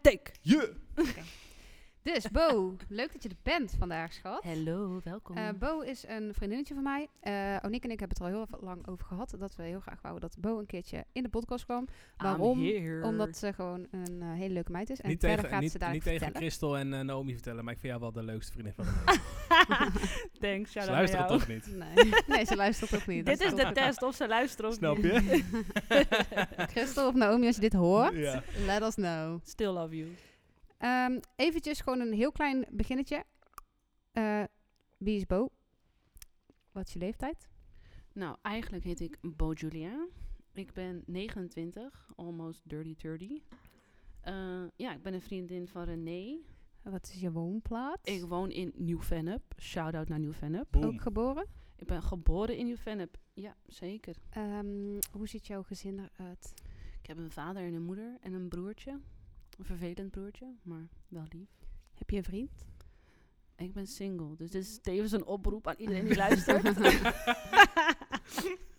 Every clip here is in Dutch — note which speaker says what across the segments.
Speaker 1: Take.
Speaker 2: Je!
Speaker 3: Dus Bo, leuk dat je er bent vandaag, schat.
Speaker 1: Hallo, welkom.
Speaker 3: Eh, Bo is een vriendinnetje van mij. Eh Oniek en ik hebben het er al heel lang over gehad. Dat we heel graag wouden dat Bo een keertje in de podcast kwam.
Speaker 1: Ah,
Speaker 3: waarom? Omdat ze gewoon een eh, hele leuke meid is. En
Speaker 2: niet
Speaker 3: verder
Speaker 2: tegen,
Speaker 3: gaat
Speaker 2: niet,
Speaker 3: ze
Speaker 2: niet
Speaker 3: dadelijk
Speaker 2: tegen
Speaker 3: vertellen.
Speaker 2: Christel en eh, Naomi vertellen, maar ik vind jou wel de leukste vriendin van de wereld.
Speaker 1: Thanks, ja,
Speaker 2: Ze
Speaker 1: dat
Speaker 2: luisteren toch niet?
Speaker 3: Nee. nee, ze luistert ook niet.
Speaker 1: Dit
Speaker 3: Dat
Speaker 1: is de
Speaker 3: ook-
Speaker 1: test of ze luisteren of
Speaker 2: Snap
Speaker 1: niet.
Speaker 2: je?
Speaker 3: Christel of Naomi, als je dit hoort,
Speaker 2: Ja.
Speaker 3: let us know.
Speaker 1: Still love you.
Speaker 3: Ehm eventjes gewoon een heel klein beginnetje. Eh, wie is Bo? Wat is je leeftijd?
Speaker 4: Nou, eigenlijk heet ik Bo Julia. Ik ben 29, almost dirty 30. Eh, ja, ik ben een vriendin van René.
Speaker 3: Wat is je woonplaats?
Speaker 4: Ik woon in Nieuw-Vennep. Shout-out naar Nieuw-Vennep.
Speaker 2: Boom.
Speaker 3: Ook geboren?
Speaker 4: Ik ben geboren in Nieuw-Vennep. Ja, zeker.
Speaker 3: Ehm, hoe ziet jouw gezin eruit?
Speaker 4: Ik heb een vader en een moeder en een broertje. Een vervelend broertje, maar wel lief.
Speaker 3: Heb je een vriend?
Speaker 4: Ik ben single, dus dit is tevens een oproep aan iedereen die luistert.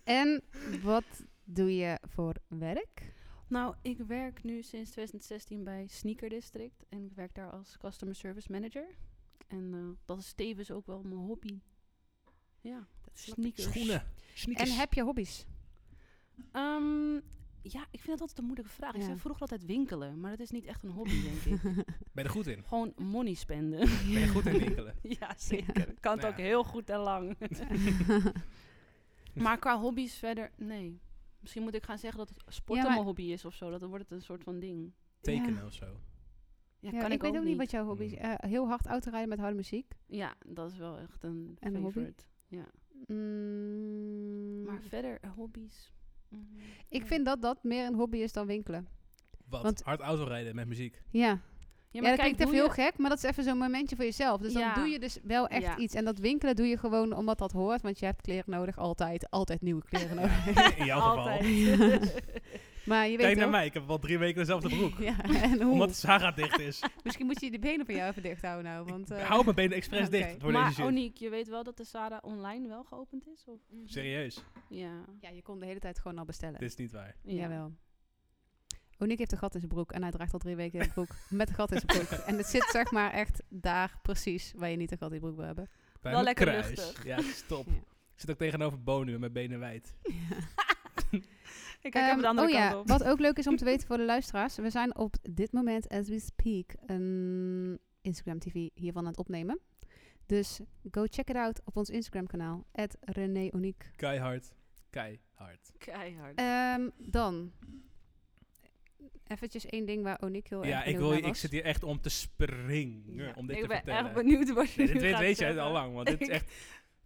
Speaker 3: En wat doe je voor werk?
Speaker 4: nou, ik werk nu sinds 2016 bij Sneaker District. En ik werk daar als Customer Service Manager. En eh, dat is tevens ook wel mijn hobby. Ja.
Speaker 3: Dat snap ik.
Speaker 4: Sneakers.
Speaker 2: Schoenen. Sneakers.
Speaker 3: En heb je hobby's?
Speaker 4: Ehm, ja, ik vind dat altijd een moeilijke vraag. Ik
Speaker 3: Ja.
Speaker 4: zei vroeger altijd winkelen, maar dat is niet echt een hobby, denk ik.
Speaker 2: Ben je er goed in?
Speaker 4: Gewoon money spenden.
Speaker 2: Ben je goed in winkelen?
Speaker 1: Ja, zeker. Kan het
Speaker 2: Nou
Speaker 1: ook
Speaker 2: ja.
Speaker 1: heel goed en lang.
Speaker 4: maar qua hobby's verder, nee. Misschien moet ik gaan zeggen dat het sporten
Speaker 3: Ja, maar-
Speaker 4: mijn hobby is of zo. Dat wordt het een soort van ding.
Speaker 2: Tekenen
Speaker 3: Ja.
Speaker 2: of zo.
Speaker 4: Ja,
Speaker 3: Ja,
Speaker 4: kan ik,
Speaker 3: weet ook niet wat jouw
Speaker 2: Mm.
Speaker 3: hobby's eh heel hard autorijden met harde muziek.
Speaker 4: Ja, dat is wel echt een
Speaker 3: En een hobby?
Speaker 4: favorite. Ja.
Speaker 3: Mm,
Speaker 4: Maar verder, eh, hobby's. mm,
Speaker 3: ik
Speaker 4: ja.
Speaker 3: vind dat dat meer een hobby is dan winkelen.
Speaker 2: Wat?
Speaker 3: Want-
Speaker 2: Hard autorijden met muziek.
Speaker 3: Ja,
Speaker 4: Ja,
Speaker 3: ja,
Speaker 4: maar
Speaker 3: dat klinkt
Speaker 4: hoe
Speaker 3: even heel
Speaker 4: je-
Speaker 3: gek, maar dat is even zo'n momentje voor jezelf. Dus
Speaker 4: Ja.
Speaker 3: dan doe je dus wel echt
Speaker 4: Ja.
Speaker 3: iets. En dat winkelen doe je gewoon omdat dat hoort, want je hebt kleren nodig altijd. Altijd nieuwe kleren nodig.
Speaker 2: in jouw geval.
Speaker 1: Altijd.
Speaker 3: Maar je weet
Speaker 2: Kijk naar
Speaker 3: ook-
Speaker 2: mij, ik heb al drie weken dezelfde broek.
Speaker 3: Ja, en hoe?
Speaker 2: Omdat Sarah dicht is.
Speaker 3: Misschien moet je de benen van jou even dicht houden nou, want... eh,
Speaker 2: Hou mijn benen expres
Speaker 3: oké.
Speaker 2: dicht voor deze
Speaker 4: Maar oh,
Speaker 2: shit.
Speaker 4: Oniek, je weet wel dat de Sarah online wel geopend is? Of?
Speaker 3: Mhm.
Speaker 2: Serieus,
Speaker 4: Ja.
Speaker 3: Ja, je kon de hele tijd gewoon al bestellen.
Speaker 2: dit is niet waar.
Speaker 4: ja.
Speaker 3: Jawel. Onik heeft een gat in zijn broek en hij draagt al drie weken een broek met een gat in zijn broek. en het zit zeg maar echt daar precies waar je niet een gat in je broek wil hebben.
Speaker 2: Bij
Speaker 1: Wel
Speaker 2: mijn
Speaker 1: lekker
Speaker 2: kruis.
Speaker 1: luchtig.
Speaker 2: Ja, stop.
Speaker 3: Ja.
Speaker 2: Ik zit ook tegenover Bo nu met benen wijd.
Speaker 1: Ik kijk even
Speaker 3: Ehm,
Speaker 1: de andere
Speaker 3: oh
Speaker 1: kant
Speaker 3: ja,
Speaker 1: op.
Speaker 3: wat ook leuk is om te weten voor de luisteraars. We zijn op dit moment, as we speak, een Instagram TV hiervan aan het opnemen. Dus go check it out op ons Instagram kanaal. At René Oniek.
Speaker 2: Keihard. Keihard.
Speaker 4: Keihard.
Speaker 3: Ehm, dan. Eventjes één ding waar Oniek heel erg
Speaker 2: Ja, ik,
Speaker 3: benieuwd
Speaker 2: wil,
Speaker 3: naar
Speaker 2: je- ik
Speaker 3: was.
Speaker 2: zit hier echt om te springen.
Speaker 4: Ja.
Speaker 2: Om dit
Speaker 1: ik
Speaker 2: te
Speaker 1: ben
Speaker 2: vertellen.
Speaker 1: echt benieuwd wat je
Speaker 2: Nee,
Speaker 1: nu
Speaker 2: dit weet,
Speaker 1: gaat
Speaker 2: weet jij
Speaker 1: zeggen.
Speaker 2: al lang, want dit is echt...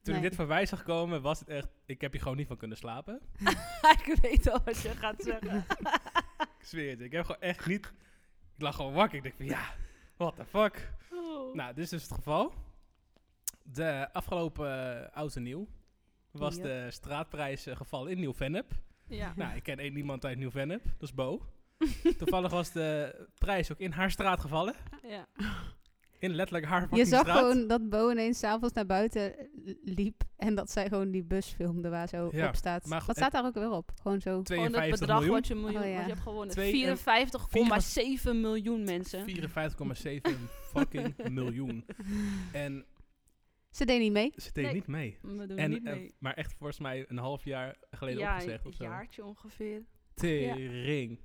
Speaker 2: Toen ik
Speaker 3: Nee.
Speaker 2: dit voorbij zag komen, was het echt... Ik heb hier gewoon niet van kunnen slapen.
Speaker 1: ik weet al wat je gaat zeggen.
Speaker 2: Ik zweer het. Ik heb gewoon echt niet... Ik lag gewoon wakker. Ik dacht van, ja, what the fuck.
Speaker 1: Oh.
Speaker 2: Nou, dit is dus het geval. De afgelopen eh, oud en nieuw was
Speaker 3: Ja.
Speaker 2: de straatprijs eh, gevallen in Nieuw-Vennep.
Speaker 4: Ja.
Speaker 2: nou, ik ken één iemand uit Nieuw-Vennep, dat is Bo. Toevallig was de prijs ook in haar straat gevallen.
Speaker 4: ja.
Speaker 2: In letterlijk haar
Speaker 3: Je
Speaker 2: fucking
Speaker 3: zag
Speaker 2: straat.
Speaker 3: gewoon dat Bo ineens s'avonds naar buiten eh, liep. En dat zij gewoon die bus filmde waar zo
Speaker 2: Ja,
Speaker 3: op staat.
Speaker 2: maar goed,
Speaker 3: Wat staat daar ook weer op? Gewoon zo.
Speaker 4: Gewoon het
Speaker 2: 52
Speaker 4: bedrag
Speaker 2: miljoen.
Speaker 4: wat je, miljoen,
Speaker 3: Oh, ja.
Speaker 4: wat je hebt gewonnen.
Speaker 2: Twee-
Speaker 4: 54,7 miljoen mensen.
Speaker 2: 54,7 fucking miljoen. En
Speaker 3: Ze deed niet mee.
Speaker 2: ze deed
Speaker 4: Nee.
Speaker 2: niet mee.
Speaker 4: We doen
Speaker 2: En,
Speaker 4: niet
Speaker 2: eh,
Speaker 4: mee.
Speaker 2: maar echt volgens mij een half jaar geleden
Speaker 1: ja,
Speaker 2: opgezegd
Speaker 1: een
Speaker 2: of zo.
Speaker 1: jaartje ongeveer.
Speaker 2: Tering.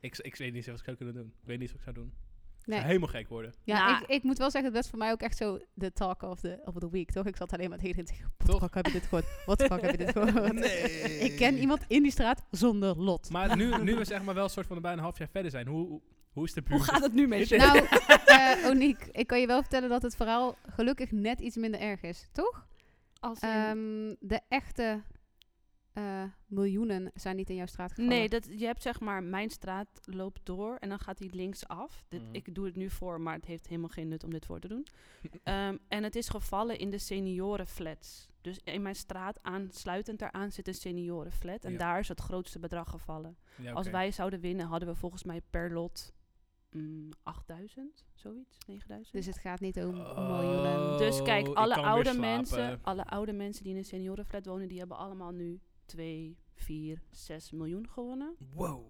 Speaker 2: Ik, ik weet niet eens wat ik zou kunnen doen. Ik weet niet wat ik zou doen. Ik
Speaker 3: Nee.
Speaker 2: zou helemaal gek worden.
Speaker 3: Ja,
Speaker 4: Nou.
Speaker 3: ik, ik moet wel zeggen, dat was voor mij ook echt zo de talk of the, of the week, toch? Ik zat alleen maar tegen tegen, wat
Speaker 2: Toch?
Speaker 3: fuck heb je dit gehoord? Wat fuck heb je dit gehoord? Ik ken iemand in die straat zonder lot.
Speaker 2: Maar nu, nu we zeg maar wel een soort van bijna een half jaar verder zijn, hoe, hoe- hoe is de buurt?
Speaker 1: Hoe gaat het nu met je?
Speaker 3: Nou, eh Oniek, ik kan je wel vertellen dat het verhaal gelukkig net iets minder erg is, toch?
Speaker 4: Als in-
Speaker 3: Ehm, de echte eh, miljoenen zijn niet in jouw straat gevallen.
Speaker 4: nee, dat, je hebt zeg maar, mijn straat loopt door en dan gaat die links af. Dit,
Speaker 2: Mhm.
Speaker 4: Ik doe het nu voor, maar het heeft helemaal geen nut om dit voor te doen. Ehm, en het is gevallen in de seniorenflats. Dus in mijn straat aansluitend daaraan zit een seniorenflat. En
Speaker 2: Ja.
Speaker 4: daar is het grootste bedrag gevallen.
Speaker 2: Ja,
Speaker 4: Als
Speaker 2: oké.
Speaker 4: wij zouden winnen, hadden we volgens mij per lot mm, 8000, zoiets, 9000.
Speaker 3: Dus het gaat niet om om
Speaker 2: Oh.
Speaker 3: miljoenen.
Speaker 4: Dus kijk,
Speaker 2: ik
Speaker 4: alle
Speaker 2: kan weer
Speaker 4: oude,
Speaker 2: slapen.
Speaker 4: mensen, alle oude mensen die in een seniorenflat wonen, die hebben allemaal nu 2, 4, 6 miljoen gewonnen.
Speaker 2: Wow.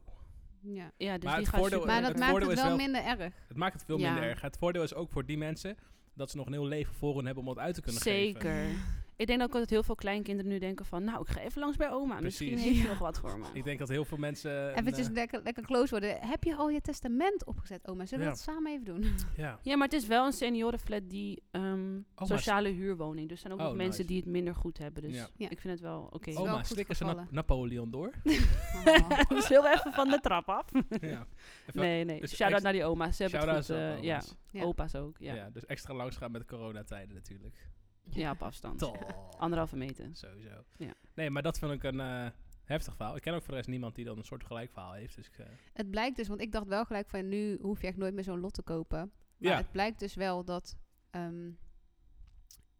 Speaker 3: Ja.
Speaker 4: Ja, dus
Speaker 2: Maar
Speaker 4: die
Speaker 2: het
Speaker 4: gaat
Speaker 2: voordeel-
Speaker 4: super-
Speaker 3: Maar
Speaker 2: het
Speaker 3: dat maakt
Speaker 2: voordeel
Speaker 3: het
Speaker 2: is
Speaker 3: wel,
Speaker 2: wel-
Speaker 3: minder erg.
Speaker 2: Het maakt het veel
Speaker 4: Ja.
Speaker 2: minder erg. Het voordeel is ook voor die mensen dat ze nog een heel leven voor hun hebben om dat uit te kunnen geven.
Speaker 4: Zeker. Ik denk ook dat heel veel kleinkinderen nu denken van... Nou, ik ga even langs bij oma. Misschien
Speaker 2: Precies.
Speaker 4: heeft ze nog wat voor me.
Speaker 2: Ik denk dat heel veel mensen... een,
Speaker 3: Eventjes
Speaker 2: eh,
Speaker 3: lekker, lekker close worden. Heb je al je testament opgezet, oma? Zullen we
Speaker 2: Ja.
Speaker 3: dat samen even doen?
Speaker 2: ja.
Speaker 4: Ja, maar het is wel een seniorenflat die ehm,
Speaker 2: maar-
Speaker 4: sociale huurwoning. Dus er zijn ook
Speaker 2: Oh,
Speaker 4: nog mensen
Speaker 2: nice.
Speaker 4: die het minder goed hebben. Dus
Speaker 2: Ja.
Speaker 3: Ja.
Speaker 4: ik vind het wel oké.
Speaker 3: is wel
Speaker 2: Oma,
Speaker 3: goed
Speaker 2: stikken ze Nap-
Speaker 3: gevallen.
Speaker 2: Napoleon door.
Speaker 3: Oh.
Speaker 4: Dat is Dus heel even van de trap af.
Speaker 2: ja. Even-
Speaker 4: Nee, nee.
Speaker 2: dus
Speaker 4: Shout-out
Speaker 2: ex-
Speaker 4: naar die oma's. Ze hebben het
Speaker 2: Shout-out
Speaker 4: goed.
Speaker 2: aan
Speaker 4: eh,
Speaker 2: oma's.
Speaker 4: ja,
Speaker 3: Ja.
Speaker 4: opa's ook.
Speaker 2: Ja.
Speaker 4: Ja, ja.
Speaker 2: dus extra langs gaan met coronatijden natuurlijk.
Speaker 4: op afstand.
Speaker 2: Toch.
Speaker 4: Anderhalve meter.
Speaker 2: Sowieso.
Speaker 4: Ja.
Speaker 2: Nee, maar dat vind ik een eh, heftig verhaal. Ik ken ook voor de rest niemand die dan een soort gelijk verhaal heeft. Dus ik, eh,
Speaker 3: Het blijkt dus, want ik dacht wel gelijk van nu hoef je echt nooit meer zo'n lot te kopen. Maar
Speaker 2: ja,
Speaker 3: het blijkt dus wel dat. ehm,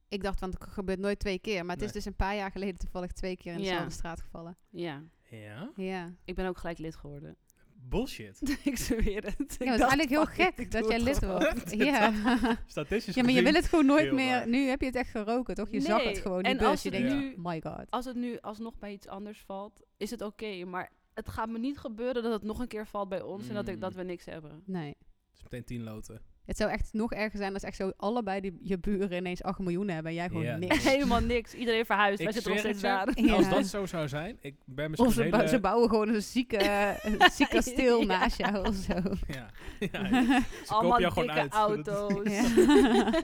Speaker 3: ik dacht, want het gebeurt nooit twee keer. Maar het is
Speaker 2: Nee.
Speaker 3: dus een paar jaar geleden toevallig twee keer in
Speaker 4: Ja.
Speaker 3: dezelfde straat gevallen.
Speaker 4: Ja,
Speaker 2: ja.
Speaker 3: Ja.
Speaker 4: ik ben ook gelijk lid geworden.
Speaker 2: Bullshit.
Speaker 4: ik zweer het. Ik
Speaker 3: Ja, het is
Speaker 4: dacht,
Speaker 3: eigenlijk heel
Speaker 4: fuck it,
Speaker 3: gek
Speaker 4: ik
Speaker 3: dat
Speaker 4: doe
Speaker 3: jij
Speaker 4: het
Speaker 3: lid
Speaker 4: gewoon.
Speaker 3: wordt. Ja.
Speaker 2: Statistisch
Speaker 3: ja, maar je
Speaker 2: gezien-
Speaker 3: wil het gewoon nooit
Speaker 2: heel
Speaker 3: meer.
Speaker 2: waar.
Speaker 3: Nu heb je het echt geroken, toch? Je zag het
Speaker 4: Nee,
Speaker 3: gewoon. Die
Speaker 4: en
Speaker 3: bus,
Speaker 4: als
Speaker 3: je
Speaker 4: het
Speaker 3: denkt, "Oh
Speaker 4: nu-
Speaker 3: my god.
Speaker 4: Als het nu alsnog bij iets anders valt, is het oké. maar het gaat me niet gebeuren dat het nog een keer valt bij ons en dat, ik,
Speaker 2: Mm.
Speaker 4: dat we niks hebben.
Speaker 3: Nee.
Speaker 2: Het is meteen tien loten.
Speaker 4: Dus
Speaker 3: Het zou echt nog erger zijn als echt zo allebei die, je buren ineens 8 miljoen hebben en jij gewoon
Speaker 2: Ja,
Speaker 3: niks.
Speaker 2: nee.
Speaker 4: Helemaal niks. Iedereen verhuist.
Speaker 2: Ik
Speaker 4: Wij zitten nog
Speaker 2: zweer
Speaker 4: steeds
Speaker 2: het
Speaker 4: daar.
Speaker 3: Ja.
Speaker 2: Als dat zo zou zijn, ik ben misschien
Speaker 3: Of ze,
Speaker 2: een
Speaker 3: bou-
Speaker 2: hele-
Speaker 3: ze bouwen gewoon een zieke, een ziek kasteel
Speaker 4: Ja.
Speaker 3: naast jou of zo.
Speaker 2: Ja, ja, ze kopen jou
Speaker 4: Allemaal
Speaker 2: gewoon
Speaker 4: dikke
Speaker 2: uit.
Speaker 4: auto's.
Speaker 3: Ja.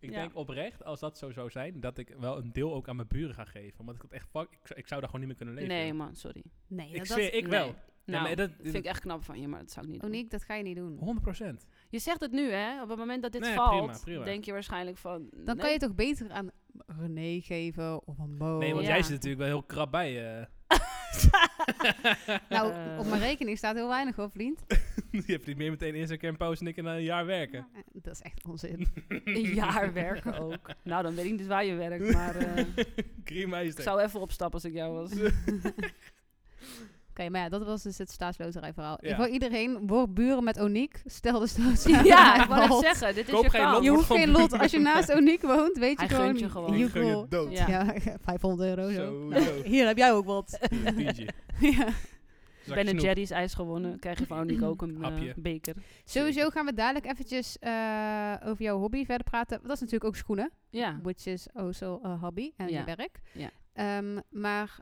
Speaker 2: Ik
Speaker 4: Ja.
Speaker 2: denk oprecht, als dat zo zou zijn, dat ik wel een deel ook aan mijn buren ga geven. Want ik, had echt fuck, ik, zou- ik zou daar gewoon niet meer kunnen leven.
Speaker 4: Nee man, sorry.
Speaker 3: Nee,
Speaker 2: ik
Speaker 3: dat,
Speaker 2: zweer, ik
Speaker 4: nee.
Speaker 2: wel. Ja,
Speaker 4: Nou,
Speaker 2: maar dat-
Speaker 4: vind ik echt knap van je, maar dat zou ik niet doen.
Speaker 3: Oniek, dat ga je niet doen.
Speaker 2: 100 procent.
Speaker 4: Je zegt het nu, hè? Op het moment dat dit
Speaker 2: Nee,
Speaker 4: valt,
Speaker 2: prima, prima.
Speaker 4: denk je waarschijnlijk van...
Speaker 3: Dan kan je toch beter aan René geven of aan Bo.
Speaker 2: Nee, want
Speaker 4: ja.
Speaker 2: jij zit natuurlijk wel heel krap bij. eh.
Speaker 3: Nou, op mijn rekening staat heel weinig hoor, vriend.
Speaker 2: je hebt niet meer meteen Instagram posten en ik in een jaar werken.
Speaker 3: Eh, Dat is echt onzin.
Speaker 4: een jaar werken ook. Nou, dan weet ik niet waar je werkt, maar eh, ik
Speaker 2: Griemeister.
Speaker 4: zou even opstappen als ik jou was.
Speaker 3: Oké, maar ja, dat was dus het staatsloterijverhaal.
Speaker 2: Ja.
Speaker 3: Voor iedereen, word buren met Oniek. Stel dus dat je
Speaker 4: ja, ik wou net
Speaker 3: valt.
Speaker 4: zeggen, dit is
Speaker 2: Koop
Speaker 4: je
Speaker 2: geen
Speaker 4: kans.
Speaker 2: lot.
Speaker 3: Je hoeft
Speaker 2: Word
Speaker 3: geen
Speaker 2: gewoon
Speaker 3: lot. Als je naast Oniek woont, weet je
Speaker 4: Hij
Speaker 3: gewoon...
Speaker 4: gunt je gewoon.
Speaker 3: you
Speaker 4: Ik
Speaker 3: go.
Speaker 2: dood.
Speaker 4: Ja.
Speaker 3: Ja, 500 euro zo.
Speaker 2: Sowieso.
Speaker 3: Hier heb jij ook wat.
Speaker 2: Een tientje.
Speaker 3: ja.
Speaker 2: Zakje
Speaker 4: Ben
Speaker 2: snoep.
Speaker 4: Jerry's ijs gewonnen, krijg je van Oniek ook een eh,
Speaker 2: Hapje.
Speaker 4: beker.
Speaker 3: Sowieso gaan we dadelijk eventjes eh, over jouw hobby verder praten. Dat is natuurlijk ook schoenen.
Speaker 4: Ja,
Speaker 3: which is also a hobby en
Speaker 4: Ah. Ja.
Speaker 3: je werk.
Speaker 4: Ja.
Speaker 3: Ehm, maar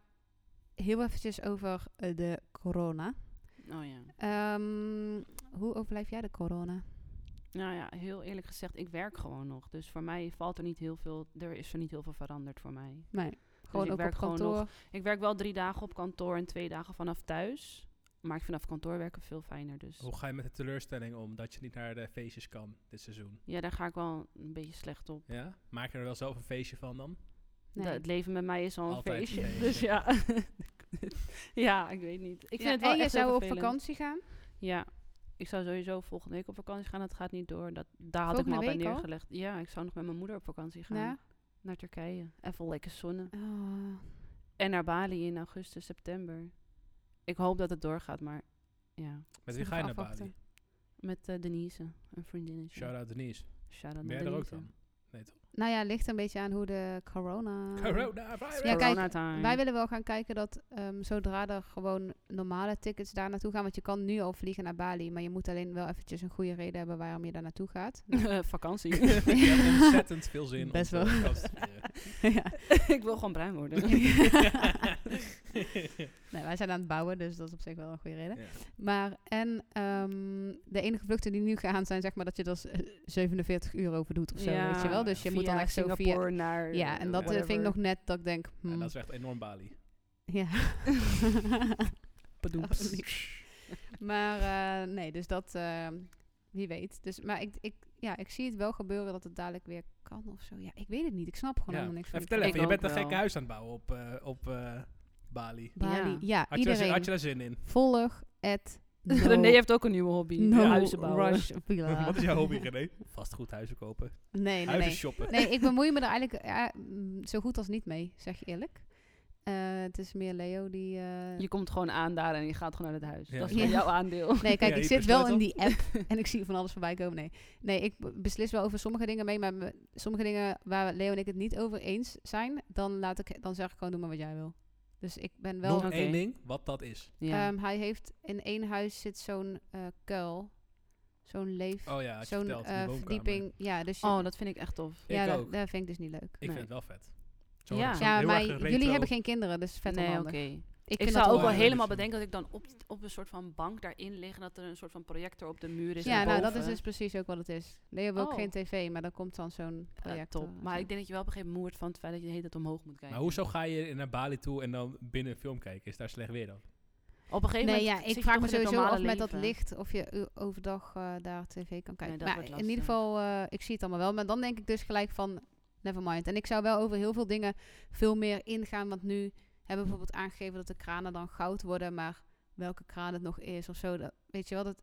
Speaker 3: heel eventjes over eh, de corona.
Speaker 4: oh ja.
Speaker 3: Ehm, hoe overleef jij de corona?
Speaker 4: Nou ja, heel eerlijk gezegd, ik werk gewoon nog. Dus voor mij valt er niet heel veel, er is er niet heel veel veranderd voor mij. Dus
Speaker 3: Nee, gewoon
Speaker 4: ik
Speaker 3: ook op
Speaker 4: werk gewoon
Speaker 3: kantoor.
Speaker 4: Ik werk wel drie dagen op kantoor en twee dagen vanaf thuis. Maar ik vind vanaf kantoor werken veel fijner, dus...
Speaker 2: Hoe ga je met de teleurstelling om dat je niet naar de feestjes kan dit seizoen?
Speaker 4: Ja, daar ga ik wel een beetje slecht op.
Speaker 2: Ja? Maak je er wel zelf een feestje van dan?
Speaker 3: Nee.
Speaker 4: Da- het leven met mij is al een
Speaker 2: Altijd een
Speaker 4: feestje.
Speaker 2: feestje.
Speaker 4: Dus ja. ja, ik weet niet. Ik vind
Speaker 3: Ja,
Speaker 4: het wel
Speaker 3: en je
Speaker 4: echt heel
Speaker 3: zou op
Speaker 4: vervelend.
Speaker 3: vakantie gaan?
Speaker 4: Ja. Ik zou sowieso volgende week op vakantie gaan. Dat gaat niet door. Dat, daar had
Speaker 3: Volgende
Speaker 4: ik me al
Speaker 3: week
Speaker 4: bij
Speaker 3: al?
Speaker 4: neergelegd. Ja, ik zou nog met mijn moeder op vakantie gaan.
Speaker 3: Ja.
Speaker 4: Naar Turkije. Even lekker zonnen.
Speaker 3: Oh,
Speaker 4: En naar Bali in augustus, september. Ik hoop dat het doorgaat, maar ja.
Speaker 2: Met wie
Speaker 3: Even
Speaker 2: ga je naar
Speaker 3: afwachten.
Speaker 2: Bali?
Speaker 4: Met eh, Denise, een vriendinnetje.
Speaker 2: Shout-out Denise.
Speaker 4: Shout-out
Speaker 2: Ben jij
Speaker 4: naar
Speaker 2: er ook
Speaker 4: Denise.
Speaker 2: dan? Nee toch?
Speaker 3: nou ja, ligt een beetje aan hoe de corona...
Speaker 2: Corona virus.
Speaker 3: Ja, kijk,
Speaker 4: Corona time.
Speaker 3: Wij willen wel gaan kijken dat ehm, zodra er gewoon normale tickets daar naartoe gaan. Want je kan nu al vliegen naar Bali. Maar je moet alleen wel eventjes een goede reden hebben waarom je daar naartoe gaat.
Speaker 4: Eh, vakantie.
Speaker 2: Ik heb ontzettend veel zin om
Speaker 3: Best
Speaker 2: te
Speaker 3: wel.
Speaker 2: vakantie te vieren.
Speaker 3: ja.
Speaker 4: ik wil gewoon bruin worden.
Speaker 3: nee, wij zijn aan het bouwen, dus dat is op zich wel een goede reden.
Speaker 2: Ja.
Speaker 3: Maar en ehm, de enige vluchten die nu gaan zijn, zeg maar dat je er 47 uur over doet of zo, weet je wel. Dus je moet dan
Speaker 4: via
Speaker 3: echt zo via...
Speaker 4: Singapore naar...
Speaker 3: Ja, en dat eh, vind ik nog net dat ik denk...
Speaker 2: En
Speaker 3: hmm,
Speaker 2: dat is echt enorm Bali.
Speaker 3: Ja.
Speaker 4: Bedoeld.
Speaker 3: Oh, nee. maar eh, nee, dus dat... eh, wie weet. Dus, maar ik, ik, ja, ik zie het wel gebeuren dat het dadelijk weer kan of zo. Ja, ik weet het niet. Ik snap gewoon
Speaker 2: Ja.
Speaker 3: helemaal niks
Speaker 2: En
Speaker 3: van.
Speaker 2: vertel
Speaker 4: Ik
Speaker 2: even, je bent
Speaker 4: ook
Speaker 2: een
Speaker 4: wel.
Speaker 2: gekke huis aan het bouwen op, eh, op eh, Bali.
Speaker 3: Bali.
Speaker 4: Ja.
Speaker 3: Ja,
Speaker 2: Had je, daar zin-
Speaker 3: iedereen.
Speaker 2: had je daar zin in?
Speaker 3: Volg het...
Speaker 4: René heeft ook een nieuwe hobby.
Speaker 3: no
Speaker 4: huizen bouwen.
Speaker 3: Rush Villa.
Speaker 2: Wat is jouw hobby, René? Vastgoed huizen kopen.
Speaker 3: Nee, nee,
Speaker 2: huizen
Speaker 3: nee.
Speaker 2: shoppen.
Speaker 3: Nee, ik bemoei me er eigenlijk ja, mm, zo goed als niet mee, zeg je eerlijk. Eh, het is meer Leo die... eh,
Speaker 4: Je komt gewoon aan daar en je gaat gewoon naar het huis.
Speaker 2: Ja.
Speaker 4: Dat is gewoon
Speaker 3: Ja.
Speaker 4: jouw aandeel.
Speaker 3: Nee, kijk,
Speaker 2: Ja,
Speaker 3: ik
Speaker 2: je
Speaker 3: zit wel in
Speaker 2: besluit
Speaker 3: die app en ik zie van alles voorbij komen. Nee, nee ik be- beslis wel over sommige dingen mee, maar me- sommige dingen waar Leo en ik het niet over eens zijn, dan, laat ik, dan zeg ik gewoon, doe maar wat jij wil. Dus ik ben wel...
Speaker 2: Nog
Speaker 4: Oké.
Speaker 2: één ding, wat dat is.
Speaker 4: Ja. Oh,
Speaker 3: Ehm, hij heeft in één huis zit zo'n eh, kuil. Zo'n leef.
Speaker 2: Oh ja, had je
Speaker 3: zo'n
Speaker 2: verteld, in
Speaker 3: eh,
Speaker 2: de woonkamer.
Speaker 3: verdieping. Ja, dus je-
Speaker 4: oh, dat vind ik echt tof.
Speaker 2: Ik
Speaker 3: ja, dat,
Speaker 2: ook.
Speaker 3: dat vind ik dus niet leuk.
Speaker 2: Ik
Speaker 4: nee.
Speaker 2: vind het wel vet. Zo'n-
Speaker 4: Ja.
Speaker 2: zo'n
Speaker 3: ja,
Speaker 2: heel
Speaker 3: maar
Speaker 2: erg retro-
Speaker 3: jullie hebben geen kinderen, dus vet
Speaker 4: nee, oké.
Speaker 3: onhandig.
Speaker 4: Ik,
Speaker 3: vind
Speaker 4: zou
Speaker 3: dat
Speaker 4: ook
Speaker 2: wel
Speaker 4: wel
Speaker 3: onhandig.
Speaker 4: helemaal
Speaker 2: leuk.
Speaker 4: bedenken dat ik dan op, op een soort van bank daarin lig en dat er een soort van projector op de muur is.
Speaker 3: Ja, nou dat
Speaker 4: erboven.
Speaker 3: is dus precies ook wat het is. Leo wil ook
Speaker 4: Oh.
Speaker 3: geen tv, maar dan komt dan zo'n
Speaker 4: Ja,
Speaker 3: project.
Speaker 4: Eh,
Speaker 3: eh,
Speaker 4: top. Maar ik denk dat je wel op een gegeven moment moe wordt van het feit dat je de hele tijd omhoog moet kijken.
Speaker 2: Maar hoezo ga je naar Bali toe en dan binnen een film kijken? Is daar slecht weer dan?
Speaker 4: Op een gegeven moment.
Speaker 3: Nee, ja,
Speaker 4: zit
Speaker 3: ik
Speaker 4: je
Speaker 3: vraag
Speaker 4: toch
Speaker 3: me
Speaker 4: in het
Speaker 3: sowieso af
Speaker 4: normale
Speaker 3: met dat
Speaker 4: leven.
Speaker 3: licht of je o- overdag eh, daar tv kan kijken.
Speaker 4: dat
Speaker 3: maar
Speaker 4: wordt
Speaker 3: in ieder
Speaker 4: lastig.
Speaker 3: geval, eh, ik zie het allemaal wel. Maar dan denk ik dus gelijk van, never mind. En ik zou wel over heel veel dingen veel meer ingaan. Want nu hebben we bijvoorbeeld aangegeven dat de kranen dan goud worden. Maar welke kraan het nog is of zo, dat, weet je wel. Dat,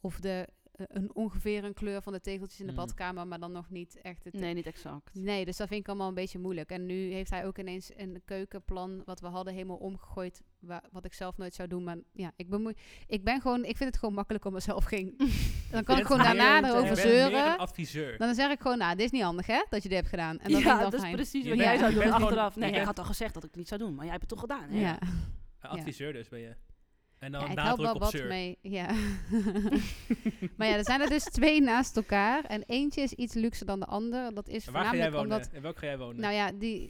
Speaker 3: of de, eh, een ongeveer een kleur van de tegeltjes in de
Speaker 2: Mm.
Speaker 3: badkamer, maar dan nog niet echt het
Speaker 4: Hmm. Nee, niet exact.
Speaker 3: Nee, dus dat vind ik allemaal een beetje moeilijk. En nu heeft hij ook ineens een keukenplan wat we hadden helemaal omgegooid. wa- wat ik zelf nooit zou doen. Maar ja, ik, bemoei, ik ben gewoon, ik vind het gewoon makkelijk om mezelf geen. Dan kan ik gewoon daarna
Speaker 4: meer-
Speaker 3: erover
Speaker 4: je bent meer
Speaker 2: een
Speaker 3: zeuren.
Speaker 2: adviseur.
Speaker 3: Dan zeg ik gewoon, nou, dit is niet handig hè, dat je dit hebt gedaan. En dan vind
Speaker 4: ja,
Speaker 3: ik dan
Speaker 4: dat is
Speaker 3: fijn.
Speaker 4: precies
Speaker 2: Je
Speaker 4: wat
Speaker 2: bent-
Speaker 4: jij zou
Speaker 2: je
Speaker 4: doen
Speaker 2: bent gewoon-
Speaker 4: achteraf.
Speaker 2: je
Speaker 4: Nee, ik
Speaker 2: bent-
Speaker 4: had al gezegd dat ik het niet zou doen, maar jij hebt het toch gedaan. Hè?
Speaker 3: Ja.
Speaker 2: Een adviseur dus ben je. En dan
Speaker 3: Ja, ik help
Speaker 2: Nou, nadruk
Speaker 3: wel
Speaker 2: op
Speaker 3: wat
Speaker 2: zeur.
Speaker 3: mee. Ja. maar ja, er zijn er dus twee naast elkaar. En eentje is iets luxer dan de ander. Dat is
Speaker 2: En waar ga jij
Speaker 3: voornamelijk
Speaker 2: wonen?
Speaker 3: omdat
Speaker 2: En welk ga jij wonen?
Speaker 3: Nou ja, die,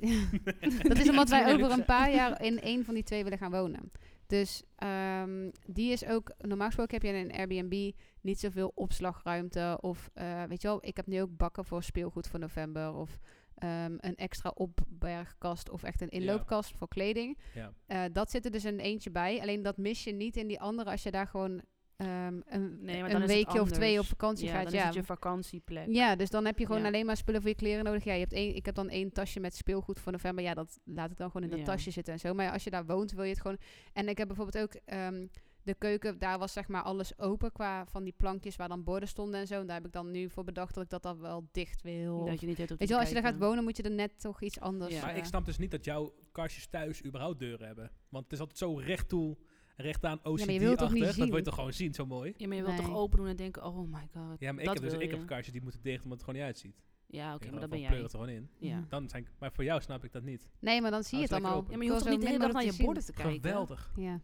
Speaker 3: dat is omdat wij
Speaker 4: Tuurlijk,
Speaker 3: over een
Speaker 4: zeg.
Speaker 3: paar jaar in één van die twee willen gaan wonen. Dus ehm, die is ook, normaal gesproken heb je in een Airbnb niet zoveel opslagruimte. Of eh, weet je wel, ik heb nu ook bakken voor speelgoed voor november. Of ehm, een extra opbergkast of echt een inloopkast voor kleding.
Speaker 2: Ja.
Speaker 3: Eh, dat zit er dus in eentje bij. Alleen dat mis je niet in die andere als je daar gewoon ehm, een,
Speaker 4: Nee, maar dan
Speaker 3: een
Speaker 4: is het
Speaker 3: weekje of twee op
Speaker 4: anders.
Speaker 3: vakantie
Speaker 4: Ja,
Speaker 3: gaat.
Speaker 4: dan is het je vakantieplek.
Speaker 3: Ja, dus dan heb je gewoon
Speaker 4: Ja.
Speaker 3: alleen maar spullen voor je kleren nodig. Ja, je hebt één, ik heb dan één tasje met speelgoed voor november. Ja, dat laat ik dan gewoon in dat
Speaker 4: Ja.
Speaker 3: tasje zitten en zo. Maar ja, als je daar woont, wil je het gewoon... En ik heb bijvoorbeeld ook ehm, de keuken, daar was zeg maar alles open qua van die plankjes waar dan borden stonden en zo. En daar heb ik dan nu voor bedacht dat ik dat dan wel dicht wil.
Speaker 4: Dat
Speaker 3: Weet
Speaker 4: je niet weet hoe
Speaker 3: je wel, als je daar gaat wonen, moet je er net toch iets anders...
Speaker 4: Ja.
Speaker 2: Maar ik
Speaker 3: eh,
Speaker 2: snap dus niet dat jouw kastjes thuis überhaupt deuren hebben. Want het is altijd zo recht toe, recht aan
Speaker 3: maar je
Speaker 2: OCD-achtig.
Speaker 3: wilt het toch niet
Speaker 2: dat wil je
Speaker 3: zien?
Speaker 2: toch gewoon zien, zo mooi.
Speaker 4: Ja, maar je wilt
Speaker 3: Nee.
Speaker 4: toch open doen en denken, oh my god.
Speaker 2: Ja, maar ik
Speaker 4: dat
Speaker 2: heb dus
Speaker 4: wil
Speaker 2: ik heb
Speaker 4: je.
Speaker 2: kastjes die moeten dicht omdat het er gewoon niet uitziet.
Speaker 4: Ja, oké,
Speaker 2: Ik
Speaker 4: maar dat ben
Speaker 2: van,
Speaker 4: jij.
Speaker 2: pleur het er gewoon in.
Speaker 4: Ja.
Speaker 2: Dan zijn, maar voor jou snap ik dat niet.
Speaker 3: Nee, maar dan zie je het
Speaker 2: Hou het lekker
Speaker 3: allemaal.
Speaker 2: open.
Speaker 4: Ja, maar je hoeft
Speaker 3: Ik
Speaker 4: toch niet
Speaker 3: wil
Speaker 4: de
Speaker 3: zo
Speaker 4: hele dag
Speaker 3: minder
Speaker 4: naar je
Speaker 3: dat
Speaker 4: borden te kijken.
Speaker 2: Geweldig.
Speaker 3: zien. Ja.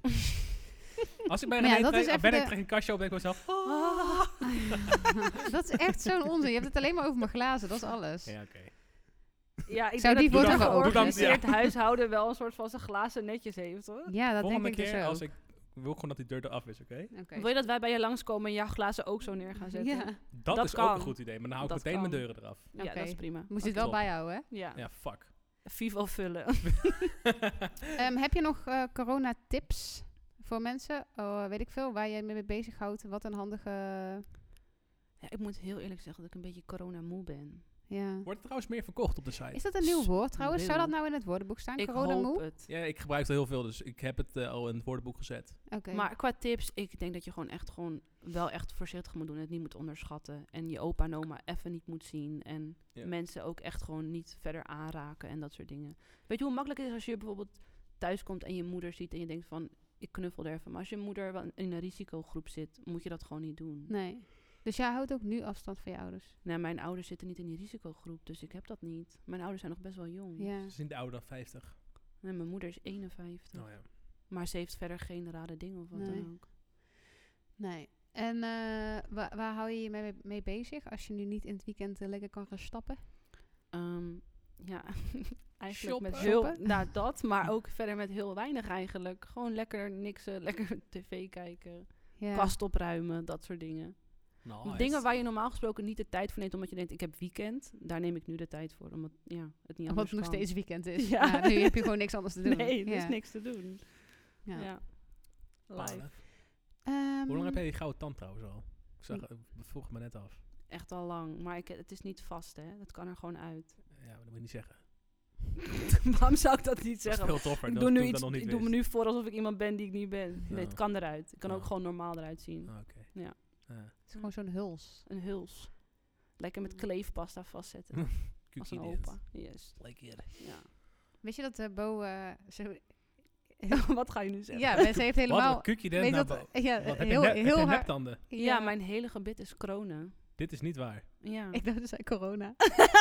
Speaker 2: Als ik bij
Speaker 3: Maar ja,
Speaker 2: René
Speaker 3: dat
Speaker 2: trek-
Speaker 3: is
Speaker 2: of
Speaker 3: even
Speaker 2: ben ik
Speaker 3: de-
Speaker 2: trek een kastje op, denk ik mezelf... oh.
Speaker 3: dat is echt zo'n onzin. Je hebt het alleen maar over mijn glazen, dat is alles.
Speaker 2: Ja, oké.
Speaker 4: Ja, ik
Speaker 3: Zou
Speaker 4: denk
Speaker 3: die
Speaker 4: dat
Speaker 2: worden
Speaker 4: een
Speaker 2: geopend?
Speaker 4: georganiseerd huishouden wel een soort van zijn glazen netjes heeft, hoor.
Speaker 3: Ja, dat
Speaker 2: Volgende
Speaker 3: denk ik
Speaker 2: keer
Speaker 3: dus ook.
Speaker 2: als ik... Ik wil gewoon dat die deur eraf is, oké?
Speaker 3: Oké.
Speaker 4: Wil je dat wij bij je langskomen en jouw glazen ook zo neer gaan zetten?
Speaker 3: Ja.
Speaker 2: Dat,
Speaker 4: Dat
Speaker 2: is ook
Speaker 4: kan.
Speaker 2: een goed idee, maar dan hou ik
Speaker 4: Dat
Speaker 2: meteen mijn
Speaker 4: kan.
Speaker 2: deuren eraf.
Speaker 4: Ja,
Speaker 3: Oké.
Speaker 4: dat is prima.
Speaker 3: Moet je het wel
Speaker 2: Oké.
Speaker 3: bijhouden, hè?
Speaker 4: Ja,
Speaker 2: Ja, fuck.
Speaker 4: Vivo vullen.
Speaker 3: Ehm, heb je nog eh corona-tips voor mensen? Oh, weet ik veel, waar jij mee bezighoudt. Wat een handige...
Speaker 4: Ja, ik moet heel eerlijk zeggen dat ik een beetje corona-moe ben.
Speaker 3: ja.
Speaker 2: Wordt het trouwens meer verkocht op de site?
Speaker 3: Is dat een nieuw woord trouwens? Zou dat
Speaker 4: Heel.
Speaker 3: nou in het woordenboek staan?
Speaker 4: Ik hoop
Speaker 3: Corona-moe?
Speaker 4: het.
Speaker 2: Ja, ik gebruik het heel veel, dus ik heb het eh, al in het woordenboek gezet.
Speaker 3: Oké.
Speaker 4: Maar qua tips, ik denk dat je gewoon echt gewoon wel echt voorzichtig moet doen. Het niet moet onderschatten. En je opa en oma even niet moet zien. En
Speaker 2: Ja.
Speaker 4: mensen ook echt gewoon niet verder aanraken en dat soort dingen. Weet je hoe makkelijk het is als je bijvoorbeeld thuis komt en je moeder ziet en je denkt van ik knuffel er even. Maar als je moeder wel in een risicogroep zit, moet je dat gewoon niet doen.
Speaker 3: Nee. Dus jij houdt ook nu afstand van je ouders?
Speaker 4: Nou, mijn ouders zitten niet in die risicogroep, dus ik heb dat niet. Mijn ouders zijn nog best wel jong.
Speaker 3: Ja.
Speaker 2: Ze zijn ouder dan 50.
Speaker 4: Nee, mijn moeder is 51.
Speaker 2: Nou ja.
Speaker 4: Maar ze heeft verder geen rare dingen of wat
Speaker 3: Nee.
Speaker 4: dan ook.
Speaker 3: Nee. En eh, wa- waar hou je je mee, mee bezig als je nu niet in het weekend eh, lekker kan gaan stappen?
Speaker 4: Ehm, ja, eigenlijk met
Speaker 2: Shoppen.
Speaker 4: heel...
Speaker 3: Shoppen.
Speaker 4: Nou, dat, maar ook verder met heel weinig eigenlijk. Gewoon lekker niksen, lekker tv kijken,
Speaker 3: Ja.
Speaker 4: kast opruimen, dat soort dingen.
Speaker 2: Nice.
Speaker 4: Dingen waar je normaal gesproken niet de tijd voor neemt, omdat je denkt, ik heb weekend. Daar neem ik nu de tijd voor, omdat ja, het niet
Speaker 3: Wat
Speaker 4: anders
Speaker 3: nog
Speaker 4: kan.
Speaker 3: steeds weekend is. Ja.
Speaker 4: Ja.
Speaker 3: nu heb je gewoon niks anders te doen.
Speaker 4: Nee, er
Speaker 3: ja.
Speaker 4: is niks te doen.
Speaker 3: Ja.
Speaker 4: Ja.
Speaker 2: Paarden.
Speaker 4: Live.
Speaker 2: Hoe lang heb
Speaker 3: Ehm,
Speaker 2: jij die gouden tand trouwens al? Ik zag, ik vroeg het me net af.
Speaker 4: Echt al lang, maar ik, het is niet vast, hè. Dat kan er gewoon uit.
Speaker 2: Ja, maar dat moet je niet zeggen.
Speaker 4: Waarom zou ik dat niet
Speaker 2: Dat is
Speaker 4: zeggen?
Speaker 2: veel toffer.
Speaker 4: Ik
Speaker 2: dan
Speaker 4: doe, nu
Speaker 2: toen
Speaker 4: iets,
Speaker 2: dat nog niet
Speaker 4: ik doe me nu voor alsof ik iemand ben die ik niet ben. Nee,
Speaker 2: Ja.
Speaker 4: het kan eruit. Ik kan ook
Speaker 2: Ja.
Speaker 4: gewoon normaal eruit zien.
Speaker 2: Ah, oké.
Speaker 4: Ja.
Speaker 2: Ah,
Speaker 3: Het is gewoon zo'n huls.
Speaker 4: Een huls. Lekker
Speaker 3: Mm.
Speaker 4: met kleefpasta vastzetten. als een
Speaker 2: kukkie dit.
Speaker 4: opa. Yes.
Speaker 2: Like it.
Speaker 4: Ja.
Speaker 3: Weet je dat eh, Bo eh, zo...
Speaker 4: Wat ga je nu zeggen?
Speaker 3: Ja, mensen heeft
Speaker 2: Wat
Speaker 3: helemaal...
Speaker 2: een kukje dit.
Speaker 3: Weet
Speaker 4: eh,
Speaker 2: nou,
Speaker 3: dat,
Speaker 2: bo-
Speaker 3: ja,
Speaker 2: Wat, heb je
Speaker 3: heel,
Speaker 2: nep- heb je
Speaker 3: heel haar-
Speaker 2: neptanden?
Speaker 4: Ja, mijn hele gebit is kronen.
Speaker 2: Dit is niet waar.
Speaker 4: Ja.
Speaker 3: Ik dacht, dus zei corona.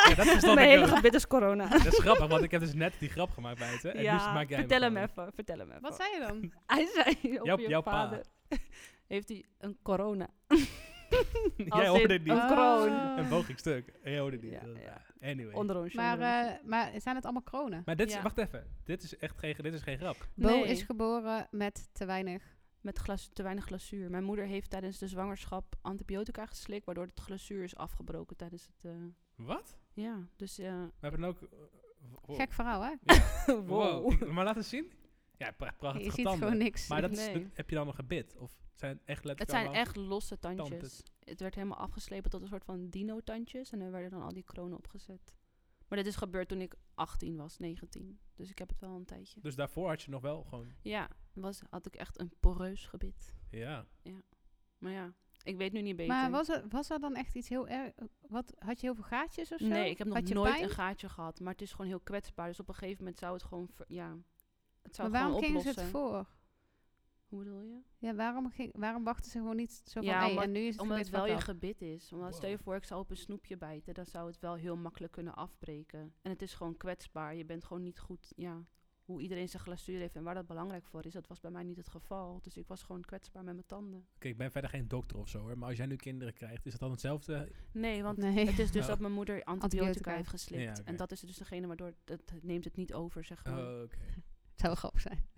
Speaker 2: Ja, dat verstand
Speaker 1: Mijn
Speaker 2: ik
Speaker 1: hele
Speaker 2: ook.
Speaker 1: gebit is corona.
Speaker 2: Dat is grappig, want ik heb dus net die grap gemaakt buiten. En dus
Speaker 1: ja,
Speaker 2: maak jij
Speaker 1: vertel hem
Speaker 2: gewoon.
Speaker 1: even. Vertel hem even.
Speaker 3: Wat zei je dan?
Speaker 4: Hij zei op
Speaker 2: Jouw-
Speaker 4: je
Speaker 2: jouw pa.
Speaker 4: vader. Heeft hij een corona?
Speaker 2: Jij
Speaker 4: Als in
Speaker 2: hoorde het niet.
Speaker 4: Een kroon.
Speaker 3: Oh.
Speaker 2: En boog ik stuk. En jij hoorde het niet.
Speaker 4: Ja, ja.
Speaker 2: Anyway.
Speaker 4: Onder ons.
Speaker 3: Maar,
Speaker 4: onder ons.
Speaker 3: eh, maar zijn het allemaal kronen?
Speaker 2: maar dit is,
Speaker 4: ja.
Speaker 2: wacht even. Dit is echt geen, dit is geen grap.
Speaker 3: Bo
Speaker 4: Nee.
Speaker 3: is geboren met te weinig.
Speaker 4: met glas, te weinig glazuur. Mijn moeder heeft tijdens de zwangerschap antibiotica geslikt, waardoor het glazuur is afgebroken tijdens het. eh,
Speaker 2: Wat?
Speaker 4: ja, dus. eh,
Speaker 2: We hebben ook... eh, wow.
Speaker 3: Gek verhaal, hè?
Speaker 2: Wow. Ik- maar laat eens zien. Ja, pra prachtig
Speaker 3: Je ziet gewoon niks.
Speaker 2: Maar dat is,
Speaker 4: Nee.
Speaker 2: heb je dan een gebit? Of zijn het echt letterlijk
Speaker 4: het zijn
Speaker 2: allemaal-
Speaker 4: echt losse tandjes.
Speaker 2: Tandjes.
Speaker 4: Het werd helemaal afgeslepen tot een soort van dino-tandjes. En er werden dan al die kronen opgezet. Maar dit is gebeurd toen ik 18 was, 19. Dus ik heb het wel een tijdje.
Speaker 2: Dus daarvoor had je nog wel gewoon...
Speaker 4: Ja, was, had ik echt een poreus gebit.
Speaker 2: Ja.
Speaker 4: Maar ja, ik weet nu niet beter.
Speaker 3: Maar was er, was er dan echt iets heel erg... Wat, had je heel veel gaatjes of zo?
Speaker 4: Nee, ik heb nog
Speaker 3: Had je
Speaker 4: nooit
Speaker 3: pijn?
Speaker 4: een gaatje gehad. Maar het is gewoon heel kwetsbaar. Dus op een gegeven moment zou het gewoon... ver- ja, het zou
Speaker 3: Maar
Speaker 4: het
Speaker 3: waarom
Speaker 4: gewoon
Speaker 3: gingen ze
Speaker 4: oplossen.
Speaker 3: het voor?
Speaker 4: Hoe bedoel je?
Speaker 3: Ja, waarom, ging, waarom wachten ze gewoon niet zo van...
Speaker 4: Ja,
Speaker 3: hey,
Speaker 4: omdat-
Speaker 3: en nu is het
Speaker 4: Omdat
Speaker 3: gebit
Speaker 4: het wel je
Speaker 3: fucked up?
Speaker 4: gebit is. Omdat stel je
Speaker 2: Wow.
Speaker 4: voor, ik zou op een snoepje bijten, dan zou het wel heel makkelijk kunnen afbreken. En het is gewoon kwetsbaar. Je bent gewoon niet goed, ja, hoe iedereen zijn glazuur heeft en waar dat belangrijk voor is. Dat was bij mij niet het geval. Dus ik was gewoon kwetsbaar met mijn tanden.
Speaker 2: Kijk, ik ben verder geen dokter of zo hoor. Maar als jij nu kinderen krijgt, is dat dan
Speaker 3: Oh,
Speaker 2: hetzelfde?
Speaker 4: Nee, want
Speaker 3: Nee.
Speaker 4: het is dus
Speaker 2: Oh.
Speaker 4: dat mijn moeder antibiotica,
Speaker 3: Antibiotica.
Speaker 4: heeft geslikt.
Speaker 2: Ja, oké.
Speaker 4: En dat is dus degene waardoor het, het neemt het niet over, zeg maar.
Speaker 2: Oh, oké.
Speaker 3: Het zou wel grappig zijn.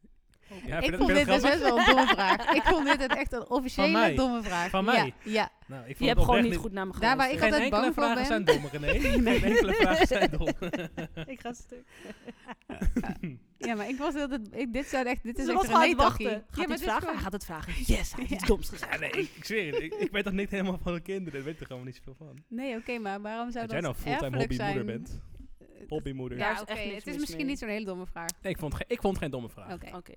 Speaker 2: Ja, vind je dat-
Speaker 3: ik
Speaker 2: vind
Speaker 3: vond
Speaker 2: je
Speaker 3: dit
Speaker 2: dat
Speaker 3: dus best
Speaker 2: grappig?
Speaker 3: wel een domme vraag. Ik vond dit echt een officiële
Speaker 2: Van mij.
Speaker 3: domme vraag.
Speaker 2: Van
Speaker 3: Ja, Ja,
Speaker 2: mij. Nou, ik
Speaker 4: Je
Speaker 2: vond
Speaker 4: hebt
Speaker 2: het
Speaker 4: gewoon
Speaker 2: oprecht
Speaker 4: niet
Speaker 2: niet
Speaker 4: goed naar me
Speaker 3: Daar waar
Speaker 4: geluisterd.
Speaker 3: ik altijd
Speaker 2: Geen enkele
Speaker 3: bang voor ben.
Speaker 2: vragen zijn dom, René. Geen enkele vragen zijn dom.
Speaker 1: ik ga stuk.
Speaker 3: ja. maar ik was altijd... Ik, dit, zou echt, dit is
Speaker 1: Ze
Speaker 3: echt
Speaker 1: was gewoon aan
Speaker 3: een
Speaker 1: het
Speaker 3: takkie.
Speaker 1: wachten. Gaat
Speaker 3: ja,
Speaker 1: hij
Speaker 3: maar
Speaker 1: het
Speaker 3: dit is
Speaker 1: vragen?
Speaker 3: gewoon-
Speaker 4: Hij gaat het vragen. Yes, hij heeft iets doms gezegd.
Speaker 2: Ja, nee, ik, ik zweer het. Ik, ik weet toch niet helemaal van de kinderen. Ik weet er gewoon niet zoveel van.
Speaker 3: Nee, oké, maar waarom zou
Speaker 2: Dat
Speaker 3: dat
Speaker 2: jij nou fulltime
Speaker 3: erfelijk
Speaker 2: hobbymoeder
Speaker 3: zijn?
Speaker 2: bent. Hobbymoeder.
Speaker 4: Daar
Speaker 3: Ja,
Speaker 4: is
Speaker 3: oké.
Speaker 4: echt
Speaker 1: dus
Speaker 4: niks
Speaker 3: Het is
Speaker 4: mis
Speaker 3: misschien
Speaker 4: mee.
Speaker 3: niet zo'n hele domme vraag.
Speaker 2: Nee, ik vond, ge- ik vond het geen domme vraag.
Speaker 3: Oké.
Speaker 1: Oh.
Speaker 4: Oké.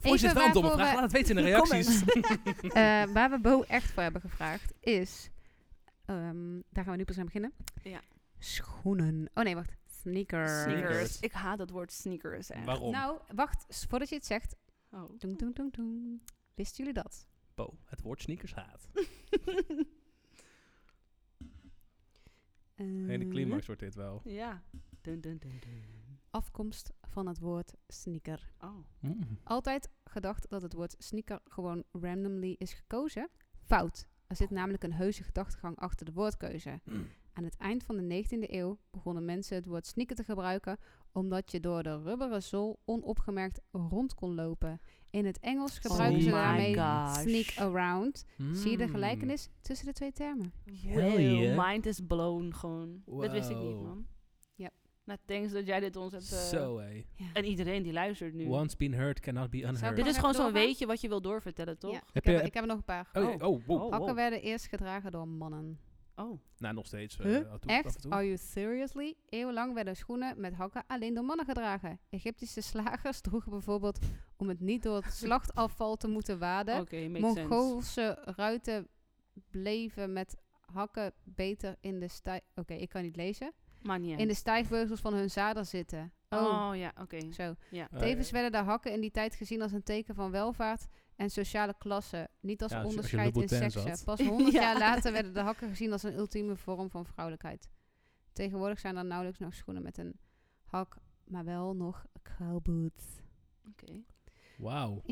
Speaker 2: Vond je het wel een domme vraag? Laat het weten in de reacties.
Speaker 3: Eh, waar we Bo echt voor hebben gevraagd is... ehm, daar gaan we nu pas aan beginnen.
Speaker 4: Ja.
Speaker 3: Schoenen. Oh nee, wacht. Sneakers.
Speaker 2: Sneakers.
Speaker 4: Ik haat dat woord sneakers echt.
Speaker 2: Waarom?
Speaker 3: Nou, wacht. s- Voordat je het zegt.
Speaker 4: Oh.
Speaker 3: Doeng, doeng, doeng, doeng. Wisten jullie dat?
Speaker 2: Bo, het woord sneakers haat. Nee, de
Speaker 3: Eh,
Speaker 2: climax wordt dit wel.
Speaker 4: Ja. Dun, dun, dun, dun.
Speaker 3: Afkomst van het woord sneaker.
Speaker 4: Oh.
Speaker 2: Mm,
Speaker 3: Altijd gedacht dat het woord sneaker gewoon randomly is gekozen? Fout. Er zit namelijk een heuse gedachtegang achter de woordkeuze.
Speaker 2: Hmm.
Speaker 3: Aan het eind van de 19e eeuw begonnen mensen het woord sneaker te gebruiken omdat je door de rubberen zool onopgemerkt rond kon lopen. In het Engels gebruiken ze
Speaker 2: my
Speaker 3: daarmee
Speaker 4: Oh gosh.
Speaker 3: sneak around.
Speaker 2: mm.
Speaker 3: Zie je
Speaker 2: Hmm.
Speaker 3: de gelijkenis tussen de twee termen?
Speaker 2: Hell yeah.
Speaker 4: mind is blown gewoon. Dat wist ik niet,
Speaker 2: Wow.
Speaker 4: man.
Speaker 3: Yep.
Speaker 4: Nou, thanks dat jij dit ons hebt...
Speaker 2: Zo,
Speaker 4: eh,
Speaker 2: hé.
Speaker 4: En iedereen die luistert nu.
Speaker 2: Once been heard cannot be
Speaker 3: Zou
Speaker 2: unheard.
Speaker 4: Dit
Speaker 3: Kan
Speaker 4: is
Speaker 3: ik
Speaker 4: gewoon zo'n
Speaker 3: doorgaan?
Speaker 4: weetje wat je wil doorvertellen, toch?
Speaker 3: Ja, ik,
Speaker 2: Heb
Speaker 3: heb,
Speaker 2: je-
Speaker 3: er- ik heb er nog een paar.
Speaker 2: Oh, oh, wow.
Speaker 4: Oh.
Speaker 3: Hakken werden eerst gedragen door mannen.
Speaker 4: Oh.
Speaker 2: Nou, nog steeds. eh,
Speaker 3: Huh?
Speaker 2: af en toe- af en
Speaker 3: Echt? Oh,
Speaker 2: toe.
Speaker 3: Are you seriously? Eeuwenlang werden schoenen met hakken alleen door mannen gedragen. Egyptische slagers droegen bijvoorbeeld om het niet door het slachtafval te moeten waden.
Speaker 4: Oké, makes sense.
Speaker 3: Mongoolse ruiten bleven met hakken beter in de stij... Oké, ik kan niet lezen.
Speaker 4: Maar niet
Speaker 3: In de
Speaker 4: uit.
Speaker 3: stijgbeugels van hun zadel zitten. Oh,
Speaker 4: Oh, ja, oké.
Speaker 3: zo.
Speaker 2: Ah,
Speaker 3: Tevens werden de hakken in die tijd gezien als een teken van welvaart en sociale klasse. Niet als
Speaker 2: Ja, als je- als je
Speaker 3: onderscheid in
Speaker 2: Louboutin
Speaker 3: seksen.
Speaker 2: zat.
Speaker 3: Pas honderd
Speaker 4: Ja.
Speaker 3: jaar later werden de hakken gezien als een ultieme vorm van vrouwelijkheid. Tegenwoordig zijn er nauwelijks nog schoenen met een hak, maar wel nog cowboots.
Speaker 4: Oké,
Speaker 2: Wauw.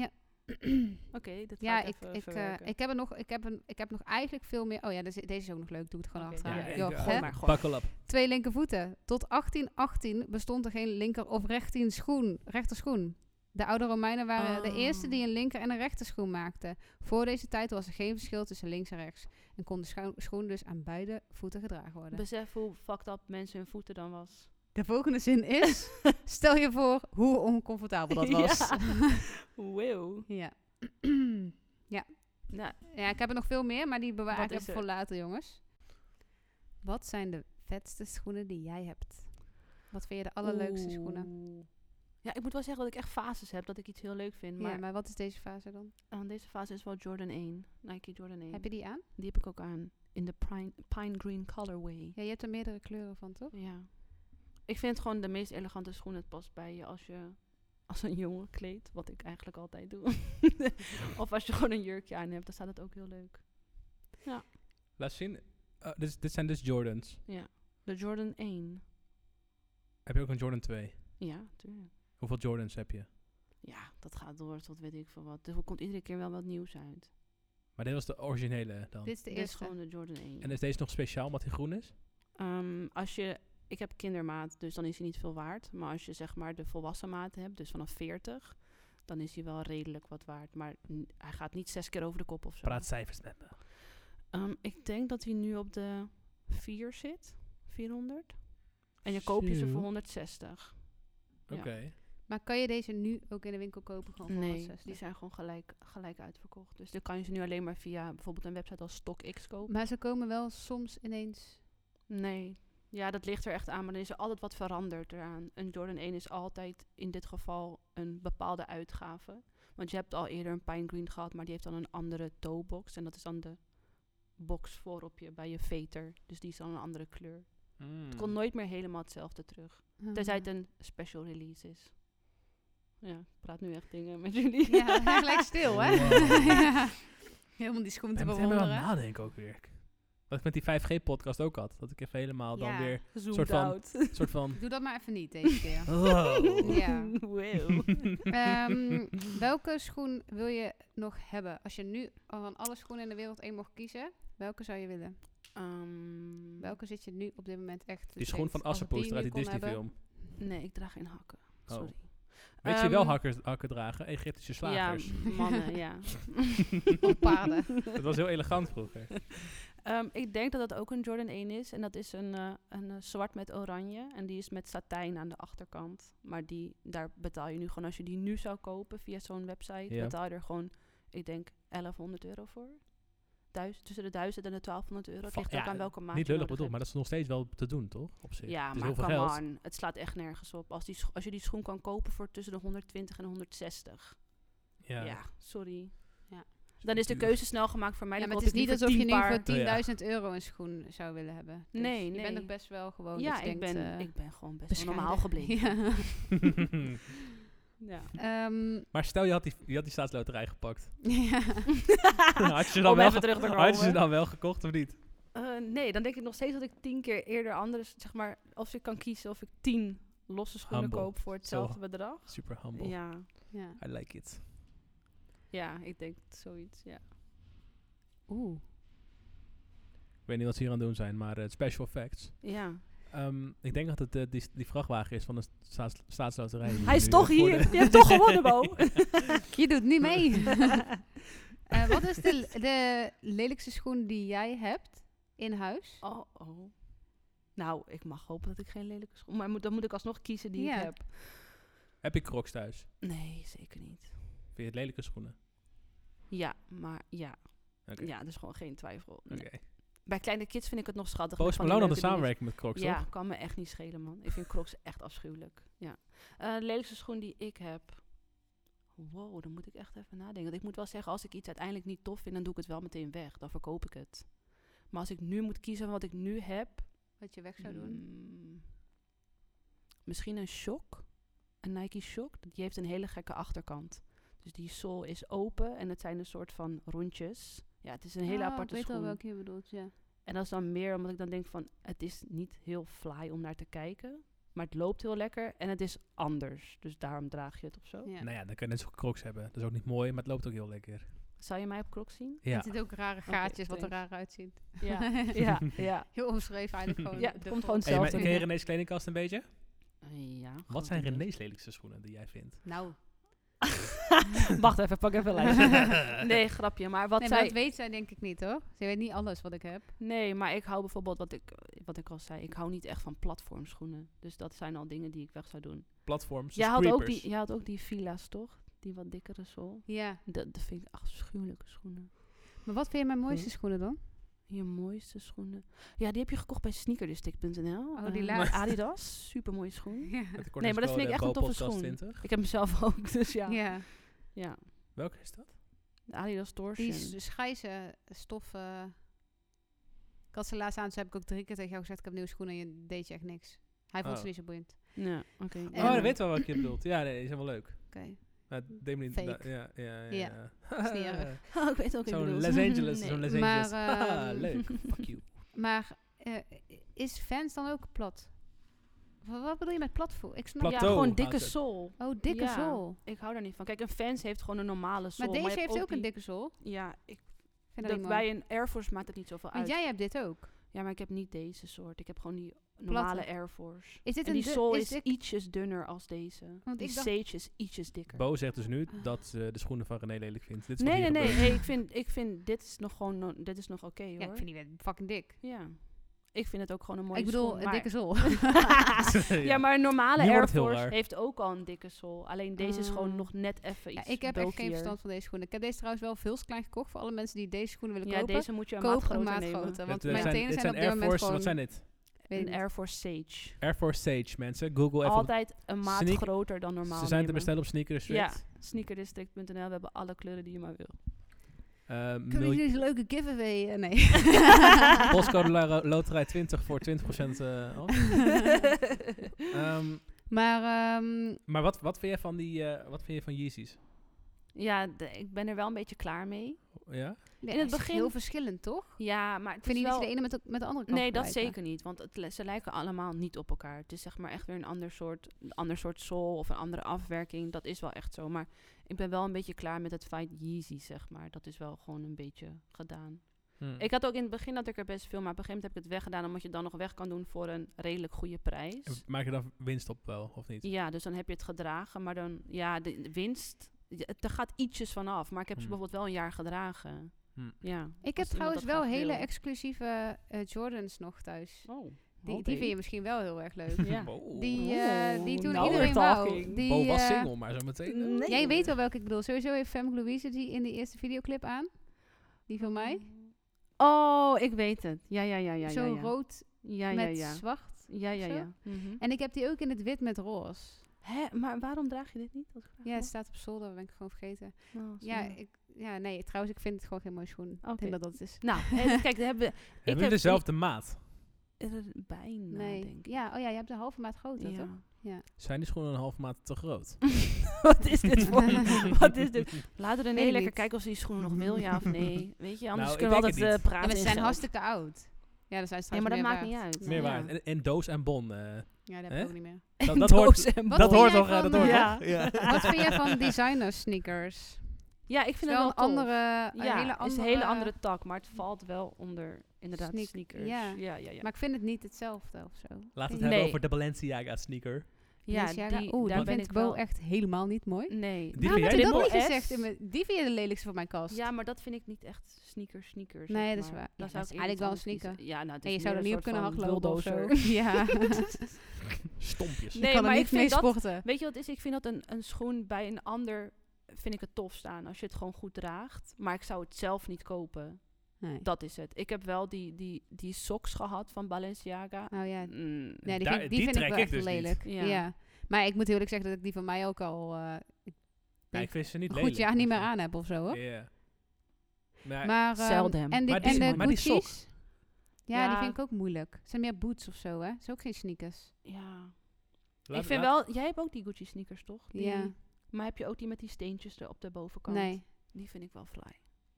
Speaker 4: Oké, dat
Speaker 3: ja,
Speaker 4: ga
Speaker 3: ik,
Speaker 4: ik even
Speaker 3: ik, eh,
Speaker 4: verwerken.
Speaker 3: ik, heb er nog, ik, heb een, ik heb nog eigenlijk veel meer... Oh ja, deze, deze is ook nog leuk. Doe het gewoon
Speaker 4: Oké,
Speaker 3: achteraan.
Speaker 4: ja,
Speaker 3: Joh,
Speaker 2: ik, eh,
Speaker 3: hè?
Speaker 4: Gooi maar, gooi
Speaker 2: Buckle up.
Speaker 3: Twee linkervoeten. Tot 1818 bestond er geen linker of rechtien schoen, rechterschoen. De oude Romeinen waren de
Speaker 4: Oh.
Speaker 3: eerste die een linker en een rechterschoen maakten. Voor deze tijd was er geen verschil tussen links en rechts. En kon de scho- schoen dus aan beide voeten gedragen worden.
Speaker 4: Besef hoe fucked up mensen hun voeten dan was.
Speaker 3: de volgende zin is... stel je voor hoe oncomfortabel dat was.
Speaker 4: Ja. Wow.
Speaker 3: ja.
Speaker 4: Nou,
Speaker 3: ja, ik heb er nog veel meer, maar die bewaar
Speaker 4: Wat
Speaker 3: ik
Speaker 4: is
Speaker 3: even
Speaker 4: er?
Speaker 3: voor later, jongens. Wat zijn de vetste schoenen die jij hebt? Wat vind je de allerleukste schoenen?
Speaker 4: Oeh. Ja, ik moet wel zeggen dat ik echt fases heb, dat ik iets heel leuk vind. Maar
Speaker 3: ja, maar wat is deze fase dan?
Speaker 4: aan deze fase is wel Jordan 1. Nike Jordan 1.
Speaker 3: Heb je die aan?
Speaker 4: Die heb ik ook aan. In de pine, pine green colorway.
Speaker 3: Ja, je hebt er meerdere kleuren van, toch?
Speaker 4: Ja. Ik vind gewoon de meest elegante schoen. Het past bij je als je als een jongen kleedt. Wat ik eigenlijk altijd doe. of als je gewoon een jurkje aan hebt. Dan staat het ook heel leuk.
Speaker 2: Laat zien. eh, dit, dit zijn dus Jordans.
Speaker 4: De Jordan 1.
Speaker 2: Heb je ook een Jordan 2?
Speaker 4: Ja, tuurlijk.
Speaker 2: Hoeveel Jordans heb je?
Speaker 4: Ja, dat gaat door tot weet ik veel wat. Dus Er komt iedere keer wel wat nieuws uit.
Speaker 2: Maar dit was de originele dan.
Speaker 3: Dit is de
Speaker 4: Dit is
Speaker 3: eerste.
Speaker 4: gewoon de Jordan 1.
Speaker 2: En is deze nog speciaal omdat hij groen is?
Speaker 4: Ehm, als je, ik heb kindermaat, dus dan is hij niet veel waard. Maar als je zeg maar de volwassen maat hebt, dus vanaf 40, dan is hij wel redelijk wat waard. Maar n- hij gaat niet zes keer over de kop of zo.
Speaker 2: Praat cijfers nou. met me.
Speaker 4: Ehm, ik denk dat hij nu op de 4 zit, 400. En je koopt je ze
Speaker 2: Zo.
Speaker 4: voor 160.
Speaker 2: Oké.
Speaker 3: Maar kan je deze nu ook in de winkel kopen? Gewoon voor
Speaker 4: Nee,
Speaker 3: 160?
Speaker 4: die zijn gewoon gelijk, gelijk uitverkocht. Dus dan kan je ze nu alleen maar via bijvoorbeeld een website als StockX kopen.
Speaker 3: Maar ze komen wel soms ineens...
Speaker 4: Nee. Ja, dat ligt er echt aan, maar er is er altijd wat veranderd eraan. Een Jordan 1 is altijd in dit geval een bepaalde uitgave. Want je hebt al eerder een Pine Green gehad, maar die heeft dan een andere toebox. En dat is dan de box voorop je, bij je veter. Dus die is dan een andere kleur.
Speaker 2: Mm.
Speaker 4: Het komt nooit meer helemaal hetzelfde terug.
Speaker 3: eh,
Speaker 4: Tenzij het een special release is. Ja, ik praat nu echt dingen met jullie.
Speaker 3: Ja, hij gelijk stil, hè?
Speaker 2: Wow.
Speaker 3: Ja. Helemaal die schoen te
Speaker 2: Ik ben helemaal aan het
Speaker 3: bewonderen.
Speaker 2: nadenken ook weer. Wat ik met die 5G-podcast ook had. Dat ik even helemaal dan
Speaker 3: Ja.
Speaker 2: weer
Speaker 4: Zoomed
Speaker 2: Soort van-
Speaker 4: out.
Speaker 2: een soort van...
Speaker 3: Doe dat maar even niet deze keer.
Speaker 2: Oh.
Speaker 3: Ja.
Speaker 4: Wow.
Speaker 3: Ehm, welke schoen wil je nog hebben? Als je nu al van alle schoenen in de wereld één mocht kiezen, welke zou je willen?
Speaker 4: Ehm,
Speaker 3: Welke zit je nu op dit moment echt...
Speaker 2: Die schoen
Speaker 4: Dus
Speaker 2: van Assepoester uit die Disney-film. Oh.
Speaker 4: Nee, ik draag geen hakken. Sorry.
Speaker 2: Weet je wel
Speaker 4: Ehm,
Speaker 2: hakkers, hakken dragen? Egyptische slagers.
Speaker 4: Ja, mannen, ja.
Speaker 3: Op paarden.
Speaker 2: Dat was heel elegant vroeger.
Speaker 4: Ehm, ik denk dat dat ook een Jordan 1 is. En dat is een, eh, een eh, zwart met oranje. En die is met satijn aan de achterkant. Maar die, daar betaal je nu gewoon... Als je die nu zou kopen via zo'n website...
Speaker 2: Ja.
Speaker 4: betaal je er gewoon, ik denk, 1100 euro voor. Duizend, tussen de 1000 en de 1200 euro. Het
Speaker 2: Fuck,
Speaker 4: ligt ook
Speaker 2: ja,
Speaker 4: aan welke maat
Speaker 2: Niet
Speaker 4: je
Speaker 2: lullig
Speaker 4: nodig
Speaker 2: bedoeld, maar
Speaker 4: hebt.
Speaker 2: dat is nog steeds wel te doen, toch? Op zich.
Speaker 4: Ja,
Speaker 2: het is
Speaker 4: maar
Speaker 2: heel veel
Speaker 4: come
Speaker 2: geld.
Speaker 4: on. Het slaat echt nergens op. Als, die scho- als je die schoen kan kopen voor tussen de 120 en 160. Ja,
Speaker 2: Ja.
Speaker 4: sorry.
Speaker 3: Ja.
Speaker 4: Dan is de
Speaker 2: Duur.
Speaker 4: keuze snel gemaakt voor mij.
Speaker 3: Ja,
Speaker 4: dan
Speaker 3: maar het
Speaker 4: koop
Speaker 3: is
Speaker 4: ik
Speaker 3: niet
Speaker 4: liever
Speaker 3: alsof je
Speaker 4: 10
Speaker 3: nu
Speaker 4: paar.
Speaker 3: voor 10.000 euro een schoen zou willen hebben. Dus
Speaker 4: Nee,
Speaker 3: Je bent
Speaker 4: nee.
Speaker 3: ook best wel gewoon.
Speaker 4: Ja,
Speaker 3: dat je
Speaker 4: ik,
Speaker 3: denkt,
Speaker 4: ben,
Speaker 3: eh,
Speaker 4: ik ben gewoon best wel
Speaker 3: bescheiden.
Speaker 4: normaal gebleven.
Speaker 3: Ja.
Speaker 4: Ja.
Speaker 3: Ehm,
Speaker 2: maar stel je had die, je had die staatsloterij gepakt.
Speaker 3: ja.
Speaker 2: Nou, had je ze dan
Speaker 4: Ah, Om
Speaker 2: wel
Speaker 4: even Oh, terug te
Speaker 2: ge-
Speaker 4: komen.
Speaker 2: Had je ze dan wel gekocht of niet?
Speaker 4: Eh, nee, dan denk ik nog steeds dat ik tien keer eerder anders, zeg maar, of ik kan kiezen of ik tien losse schoenen
Speaker 2: Humble.
Speaker 4: koop voor hetzelfde
Speaker 2: Zo.
Speaker 4: bedrag.
Speaker 2: Super humble.
Speaker 4: Ja.
Speaker 3: ja.
Speaker 2: I like it.
Speaker 4: ja, ik denk zoiets, ja.
Speaker 3: Oeh.
Speaker 2: Ik weet niet wat ze hier aan het doen zijn, maar het special facts.
Speaker 4: ja.
Speaker 2: Ehm, ik denk dat het eh, die, die vrachtwagen is van de staats, staatsloterij. die
Speaker 4: Hij is
Speaker 2: nu
Speaker 4: toch
Speaker 2: voor
Speaker 4: hier.
Speaker 2: de-
Speaker 4: Je hebt toch gewonnen, Bo.
Speaker 3: Je doet niet mee. Eh, wat is de, de lelijkste schoen die jij hebt in huis?
Speaker 4: Oh, oh. Nou, ik mag hopen dat ik geen lelijke schoen... Maar moet, dan moet ik alsnog kiezen die
Speaker 3: Ja.
Speaker 4: ik heb.
Speaker 2: Heb je crocs thuis?
Speaker 4: Nee, zeker niet.
Speaker 2: Vind je het lelijke schoenen?
Speaker 4: Ja, maar ja.
Speaker 2: Oké.
Speaker 4: Ja, dus gewoon geen twijfel. Nee.
Speaker 2: Oké.
Speaker 4: Bij kleine kids vind ik het nog schattig. met
Speaker 2: Post
Speaker 4: van die
Speaker 2: Malone had een
Speaker 4: leuke dingetjes.
Speaker 2: samenwerking met crocs,
Speaker 4: Ja,
Speaker 2: toch?
Speaker 4: kan me echt niet schelen, man. Ik vind Crocs echt afschuwelijk. Ja. Eh, de lelijkste schoen die ik heb. Wow, dan moet ik echt even nadenken. Want ik moet wel zeggen, als ik iets uiteindelijk niet tof vind, dan doe ik het wel meteen weg. Dan verkoop ik het. Maar als ik nu moet kiezen van wat ik nu heb.
Speaker 3: Wat je weg zou doen?
Speaker 4: mm, misschien een shock. Een Nike shock. Die heeft een hele gekke achterkant. Dus die sol is open en het zijn een soort van rondjes. Ja, het is een hele
Speaker 3: Oh,
Speaker 4: aparte
Speaker 3: Ik weet al
Speaker 4: schoen. Oh,
Speaker 3: welke je bedoelt, ja.
Speaker 4: En dat is dan meer omdat ik dan denk van... het is niet heel fly om naar te kijken. Maar het loopt heel lekker en het is anders. Dus daarom draag je het of zo.
Speaker 3: ja.
Speaker 2: Nou ja, dan kan je net zo goed crocs hebben. Dat is ook niet mooi, maar het loopt ook heel lekker.
Speaker 4: Zou je mij op krok zien?
Speaker 2: Ja.
Speaker 3: Er zitten ook rare gaatjes, wat er
Speaker 4: thanks.
Speaker 3: raar uitziet.
Speaker 4: Ja, ja, ja.
Speaker 3: Heel omschreven eigenlijk gewoon.
Speaker 4: Ja,
Speaker 3: de
Speaker 4: het komt
Speaker 3: grond.
Speaker 4: gewoon
Speaker 2: Hey, maar,
Speaker 4: Zelfs
Speaker 2: ken je
Speaker 4: een-
Speaker 2: René's kledingkast een beetje?
Speaker 4: ja
Speaker 2: Wat zijn
Speaker 4: grotendeels.
Speaker 2: René's lelijkste schoenen die jij vindt?
Speaker 3: Nou,
Speaker 4: Wacht even, pak even lijst. nee, grapje. Maar wat
Speaker 3: nee, maar
Speaker 4: zij...
Speaker 3: dat weet zij denk ik niet hoor. Ze weet niet alles wat ik heb.
Speaker 4: Nee, maar ik hou bijvoorbeeld wat ik, wat ik al zei. Ik hou niet echt van platformschoenen. Dus dat zijn al dingen die ik weg zou doen.
Speaker 2: Platforms,
Speaker 4: Jij
Speaker 2: dus
Speaker 4: had, ook
Speaker 2: creepers.
Speaker 4: die, jij had ook die villa's, toch? Die wat dikkere sol.
Speaker 3: Ja.
Speaker 4: Dat, dat vind ik afschuwelijke schoenen.
Speaker 3: Maar wat vind je mijn
Speaker 2: Hm?
Speaker 3: mooiste schoenen dan?
Speaker 4: Je mooiste schoenen. Ja, die heb je gekocht bij sneakerdistrict.nl.
Speaker 3: Oh, die
Speaker 4: Eh,
Speaker 3: laatste.
Speaker 4: Adidas. Super mooie schoen.
Speaker 3: Ja.
Speaker 2: Met de
Speaker 4: Nee, maar dat vind ik echt een toffe
Speaker 2: kortingscode
Speaker 4: schoen.
Speaker 2: BOPODCAST20.
Speaker 4: Ik heb hem zelf ook, dus ja. ja.
Speaker 3: ja.
Speaker 2: Welke is
Speaker 4: Eh,
Speaker 2: dat?
Speaker 4: De Adidas
Speaker 3: Die
Speaker 4: Torsion.
Speaker 3: s- schijze stoffen. Ik had ze laatst aan, dus heb ik ook drie keer tegen jou gezegd, ik heb nieuwe schoenen en je deed je echt niks. Hij vond
Speaker 2: Oh.
Speaker 3: ze niet zo boeiend.
Speaker 4: Ja, oké.
Speaker 3: En-
Speaker 2: oh, dat weet wel wat je bedoelt. Ja, nee, die zijn wel leuk.
Speaker 3: Oké.
Speaker 2: Maar het deed me niet...
Speaker 3: Fake.
Speaker 2: da- ja, ja, ja.
Speaker 3: Ja,
Speaker 2: ja.
Speaker 3: is niet erg.
Speaker 4: Oh, ik weet ook
Speaker 2: Zo'n Los Angeles,
Speaker 4: Nee.
Speaker 2: zo'n Los
Speaker 3: Maar,
Speaker 2: Angeles. Haha,
Speaker 3: ehm,
Speaker 2: leuk. Fuck you.
Speaker 3: Maar eh, is fans dan ook plat? Wat, wat bedoel je met platvoer? Ik snap.
Speaker 2: Plat-
Speaker 4: ja,
Speaker 2: Plateau
Speaker 4: gewoon
Speaker 2: gaat
Speaker 4: dikke
Speaker 2: het.
Speaker 4: sol.
Speaker 3: Oh, dikke
Speaker 4: Ja,
Speaker 3: zool.
Speaker 4: Ik hou daar niet van. Kijk, een fans heeft gewoon een normale sol.
Speaker 3: Maar deze
Speaker 4: je hebt
Speaker 3: heeft ook een
Speaker 4: die-
Speaker 3: dikke zool.
Speaker 4: Ja, ik,
Speaker 3: Ik Vind dat
Speaker 4: dat
Speaker 3: niet mooi.
Speaker 4: bij een Air Force maakt het niet zoveel
Speaker 3: Want
Speaker 4: uit.
Speaker 3: jij hebt dit ook.
Speaker 4: Ja, maar ik heb niet deze soort. Ik heb gewoon die normale Air Force.
Speaker 3: Is dit
Speaker 4: En
Speaker 3: een
Speaker 4: die
Speaker 3: dun-
Speaker 4: sol
Speaker 3: is
Speaker 4: is,
Speaker 3: dik-
Speaker 4: ietsjes dunner als deze.
Speaker 3: Want
Speaker 4: die
Speaker 3: ik dacht-
Speaker 4: sage is ietsjes dikker.
Speaker 2: Bo zegt dus nu dat ze de schoenen van René lelijk vindt. Dit is
Speaker 4: nee,
Speaker 2: wat
Speaker 4: nee,
Speaker 2: hier
Speaker 4: nee.
Speaker 2: gebeurt.
Speaker 4: Hey, ik, vind, ik vind dit is nog gewoon, no- dit is nog oké
Speaker 3: Ja,
Speaker 4: hoor.
Speaker 3: ik vind die wel fucking dik.
Speaker 4: Ja. Ik vind het ook gewoon een mooie
Speaker 3: ik bedoel,
Speaker 4: schoen,
Speaker 3: een
Speaker 4: maar-
Speaker 3: dikke zool.
Speaker 4: ja, maar een normale
Speaker 2: Hier wordt
Speaker 4: Air
Speaker 2: het heel
Speaker 4: Force
Speaker 2: raar.
Speaker 4: heeft ook al een dikke sol. Alleen deze is
Speaker 3: Ah.
Speaker 4: gewoon nog net even
Speaker 3: ja,
Speaker 4: iets
Speaker 3: ik heb echt geen
Speaker 4: bulkier.
Speaker 3: verstand van deze schoenen. Ik heb deze trouwens wel veel te klein gekocht voor alle mensen die deze schoenen willen
Speaker 4: Ja,
Speaker 3: kopen.
Speaker 4: deze moet je een maat
Speaker 3: Koop een
Speaker 4: groter
Speaker 3: maat
Speaker 4: nemen.
Speaker 3: groter, want
Speaker 2: eh,
Speaker 3: mijn
Speaker 2: zijn-
Speaker 3: tenen
Speaker 2: dit
Speaker 3: zijn op dit
Speaker 2: Air
Speaker 3: moment
Speaker 2: Force,
Speaker 3: gewoon...
Speaker 2: wat zijn dit?
Speaker 3: weet
Speaker 4: Een
Speaker 3: niet.
Speaker 4: Air Force Sage.
Speaker 2: Air Force Sage, mensen. Google even. op-
Speaker 4: Altijd een maat
Speaker 2: Sneak-
Speaker 4: groter dan normaal
Speaker 2: Ze zijn te
Speaker 4: nemen.
Speaker 2: bestellen op Sneakers.
Speaker 4: Ja, sneakerdistrict.nl. We hebben alle kleuren die je maar wil.
Speaker 2: Eh,
Speaker 3: Kunnen jullie een leuke giveaway? eh, nee.
Speaker 2: Postcode lo- Loterij 20 voor 20% eh, af. Ehm,
Speaker 3: maar ehm,
Speaker 2: maar wat, wat vind jij van die, eh, wat vind je van Yeezys?
Speaker 4: ja, de- ik ben er wel een beetje klaar mee.
Speaker 2: Ja?
Speaker 3: in
Speaker 4: het
Speaker 3: het
Speaker 4: begin-
Speaker 3: begin... heel verschillend, toch?
Speaker 4: Ja, maar het
Speaker 3: Vind
Speaker 4: is
Speaker 3: je niet
Speaker 4: wel...
Speaker 3: dat je de ene met de, met de andere kan
Speaker 4: Nee, dat
Speaker 3: vergelijken?
Speaker 4: zeker niet. Want het, li- ze lijken allemaal niet op elkaar. Het is zeg maar echt weer een ander soort, een ander soort soul of een andere afwerking. Dat is wel echt zo. Maar ik ben wel een beetje klaar met het feit Yeezy, zeg maar. Dat is wel gewoon een beetje gedaan.
Speaker 2: Hm.
Speaker 4: Ik had ook in het begin dat ik er best veel, maar op een gegeven moment heb ik het weggedaan. Omdat je het dan nog weg kan doen voor een redelijk goede
Speaker 2: En
Speaker 4: prijs.
Speaker 2: Maak je dan winst op wel, of niet?
Speaker 4: Ja, dus dan heb je het gedragen. Maar dan, ja, de, de winst, ja, het- er gaat ietsjes vanaf. Maar ik heb ze
Speaker 2: Hmm.
Speaker 4: bijvoorbeeld wel een jaar gedragen.
Speaker 2: Hmm.
Speaker 4: Ja,
Speaker 3: Ik heb
Speaker 4: als iemand
Speaker 3: trouwens
Speaker 4: dat
Speaker 3: wel
Speaker 4: graag
Speaker 3: hele
Speaker 4: wil.
Speaker 3: exclusieve eh, Jordans nog thuis.
Speaker 4: Oh,
Speaker 3: Die,
Speaker 4: hobby.
Speaker 3: die vind je misschien wel heel erg leuk.
Speaker 4: Ja.
Speaker 2: Wow.
Speaker 3: Die, eh,
Speaker 4: Oeh,
Speaker 3: die
Speaker 4: nou,
Speaker 3: toen
Speaker 4: now we're
Speaker 3: iedereen wou.
Speaker 4: talking.
Speaker 3: Die,
Speaker 2: Bo was
Speaker 3: eh,
Speaker 2: single, maar zo meteen. eh,
Speaker 4: Nee.
Speaker 3: Jij weet wel welke ik bedoel. Sowieso heeft Femke Louise die in de eerste videoclip aan. Die van mij.
Speaker 4: Oh, ik weet het. Ja, ja, ja, ja.
Speaker 3: Zo
Speaker 4: ja, ja.
Speaker 3: rood
Speaker 4: Ja, ja,
Speaker 3: met
Speaker 4: ja.
Speaker 3: zwart.
Speaker 4: Ja, ja,
Speaker 3: zo.
Speaker 4: ja. Mhm.
Speaker 3: En ik heb die ook in het wit met roze.
Speaker 4: Hè, maar waarom draag je dit niet? Dat vraag ik
Speaker 3: Ja,
Speaker 4: me
Speaker 3: het staat op zolder. ben ik gewoon vergeten.
Speaker 4: af. Oh, sorry.
Speaker 3: Ja, ik, ja, nee. Trouwens, ik vind het gewoon geen mooie schoen. Ik
Speaker 4: Oké.
Speaker 3: denk dat dat het is.
Speaker 4: Nou, hè, kijk, daar hebben we
Speaker 2: Hebben jullie
Speaker 4: heb-
Speaker 2: dezelfde maat?
Speaker 4: er bijna,
Speaker 3: nee.
Speaker 4: Nou, denk ik.
Speaker 3: Ja, oh ja, je hebt een halve maat groter, toch?
Speaker 4: Ja.
Speaker 2: Zijn die schoenen een half maat te groot?
Speaker 4: Wat is dit voor... Wat is dit? Laten we
Speaker 3: Weet
Speaker 4: René
Speaker 3: ik
Speaker 4: lekker
Speaker 3: niet.
Speaker 4: kijken of ze die schoenen nog wil, ja of nee. Weet je, anders
Speaker 2: Nou,
Speaker 4: kunnen we
Speaker 2: ik denk
Speaker 4: altijd
Speaker 2: het
Speaker 4: eh,
Speaker 2: niet.
Speaker 4: praten.
Speaker 3: Ja, maar ze
Speaker 4: in
Speaker 3: zijn
Speaker 4: geld.
Speaker 3: hartstikke oud. Ja, dat zijn ze
Speaker 4: Ja, maar dat
Speaker 3: trouwens
Speaker 4: maakt
Speaker 3: meer
Speaker 4: niet
Speaker 3: waard.
Speaker 4: uit.
Speaker 2: Meer
Speaker 4: Ja.
Speaker 2: waar. En, en doos en bon. eh,
Speaker 3: Ja, dat
Speaker 2: Hè?
Speaker 3: heb ik ook niet meer.
Speaker 2: dat, dat hoort,
Speaker 4: Doos en
Speaker 3: Wat
Speaker 2: dat
Speaker 4: bol.
Speaker 3: vind
Speaker 2: hoort
Speaker 3: jij
Speaker 2: nog, eh, dat
Speaker 3: van,
Speaker 2: hoort
Speaker 4: eh,
Speaker 2: nog. Ja.
Speaker 3: Wat vind jij van designer sneakers?
Speaker 4: Ja, ik vind
Speaker 3: wel
Speaker 4: het
Speaker 3: een
Speaker 4: wel tof.
Speaker 3: andere, een
Speaker 4: ja,
Speaker 3: hele
Speaker 4: is
Speaker 3: andere,
Speaker 4: een hele andere tak, maar het valt wel onder inderdaad
Speaker 3: Sneak-
Speaker 4: sneakers.
Speaker 3: ja.
Speaker 4: ja, ja. ja.
Speaker 3: Maar ik vind het niet hetzelfde of zo.
Speaker 2: Laat het
Speaker 3: Nee.
Speaker 2: hebben
Speaker 4: Nee.
Speaker 2: over de Balenciaga sneaker.
Speaker 4: Ja,
Speaker 3: Balenciaga,
Speaker 4: die,
Speaker 3: oeh,
Speaker 4: daar
Speaker 3: die
Speaker 4: ben
Speaker 3: vind
Speaker 4: ik
Speaker 3: ik
Speaker 4: wel
Speaker 3: Bo echt helemaal niet mooi.
Speaker 4: Nee.
Speaker 2: Die
Speaker 3: Waarom heb
Speaker 2: vind jij
Speaker 3: je dat
Speaker 4: Triple
Speaker 3: niet
Speaker 4: S?
Speaker 3: gezegd? In mijn, die vind je de lelijkste van mijn kast.
Speaker 4: Ja, maar dat vind ik niet echt sneakers, sneakers.
Speaker 3: Nee,
Speaker 4: zeg
Speaker 3: dat is
Speaker 4: maar.
Speaker 3: waar.
Speaker 4: Dan
Speaker 3: Ja,
Speaker 4: zou
Speaker 3: dat
Speaker 4: ik
Speaker 3: is eigenlijk
Speaker 4: eerder
Speaker 3: wel
Speaker 4: iets anders
Speaker 3: een
Speaker 4: kiezen. Ja, nou, het
Speaker 3: en
Speaker 4: is
Speaker 3: je zou
Speaker 4: meer
Speaker 3: er
Speaker 4: een
Speaker 3: niet op
Speaker 4: soort
Speaker 3: kunnen
Speaker 4: van
Speaker 3: hardlopen of zo.
Speaker 4: bulldozer.
Speaker 3: Ja,
Speaker 2: Stompjes.
Speaker 4: Nee,
Speaker 3: ik kan
Speaker 4: maar
Speaker 3: er
Speaker 4: ik
Speaker 3: niet
Speaker 4: vind
Speaker 3: mee
Speaker 4: dat-
Speaker 3: sporten.
Speaker 4: Weet je wat het is? Ik vind dat een, een schoen bij een ander vind ik het tof staan als je het gewoon goed draagt. Maar ik zou het zelf niet kopen.
Speaker 3: Nee.
Speaker 4: Dat is het. Ik heb wel die, die, die socks gehad van Balenciaga.
Speaker 3: Nou ja,
Speaker 4: Mm,
Speaker 3: nee, die,
Speaker 2: Daar-
Speaker 3: vind,
Speaker 2: die
Speaker 3: vind ik
Speaker 2: trek
Speaker 3: wel
Speaker 2: ik
Speaker 3: echt
Speaker 2: dus niet.
Speaker 3: lelijk.
Speaker 4: Ja.
Speaker 3: Ja. Maar ik moet heel eerlijk zeggen dat ik die van mij ook al eh,
Speaker 2: Nee, ik vind ze niet
Speaker 3: een
Speaker 2: lelijk. dus
Speaker 3: goed jaar niet meer aan heb of zo. Hoor.
Speaker 2: Ja. Maar,
Speaker 3: Maar, ehm,
Speaker 4: Zelden hem.
Speaker 3: En, die,
Speaker 2: Maar die-
Speaker 3: en de
Speaker 2: maar die sok.
Speaker 3: Gucci's. Ja, die
Speaker 4: Ja.
Speaker 3: vind ik ook moeilijk. Het zijn meer boots of zo, hè? Het is ook geen sneakers.
Speaker 4: Ja.
Speaker 2: laat-
Speaker 4: ik vind
Speaker 2: laat-
Speaker 4: wel... Jij hebt ook die Gucci sneakers, toch? Die-
Speaker 3: Ja.
Speaker 4: Maar heb je ook die met die steentjes er op de bovenkant?
Speaker 3: Nee,
Speaker 4: Die vind ik wel fly.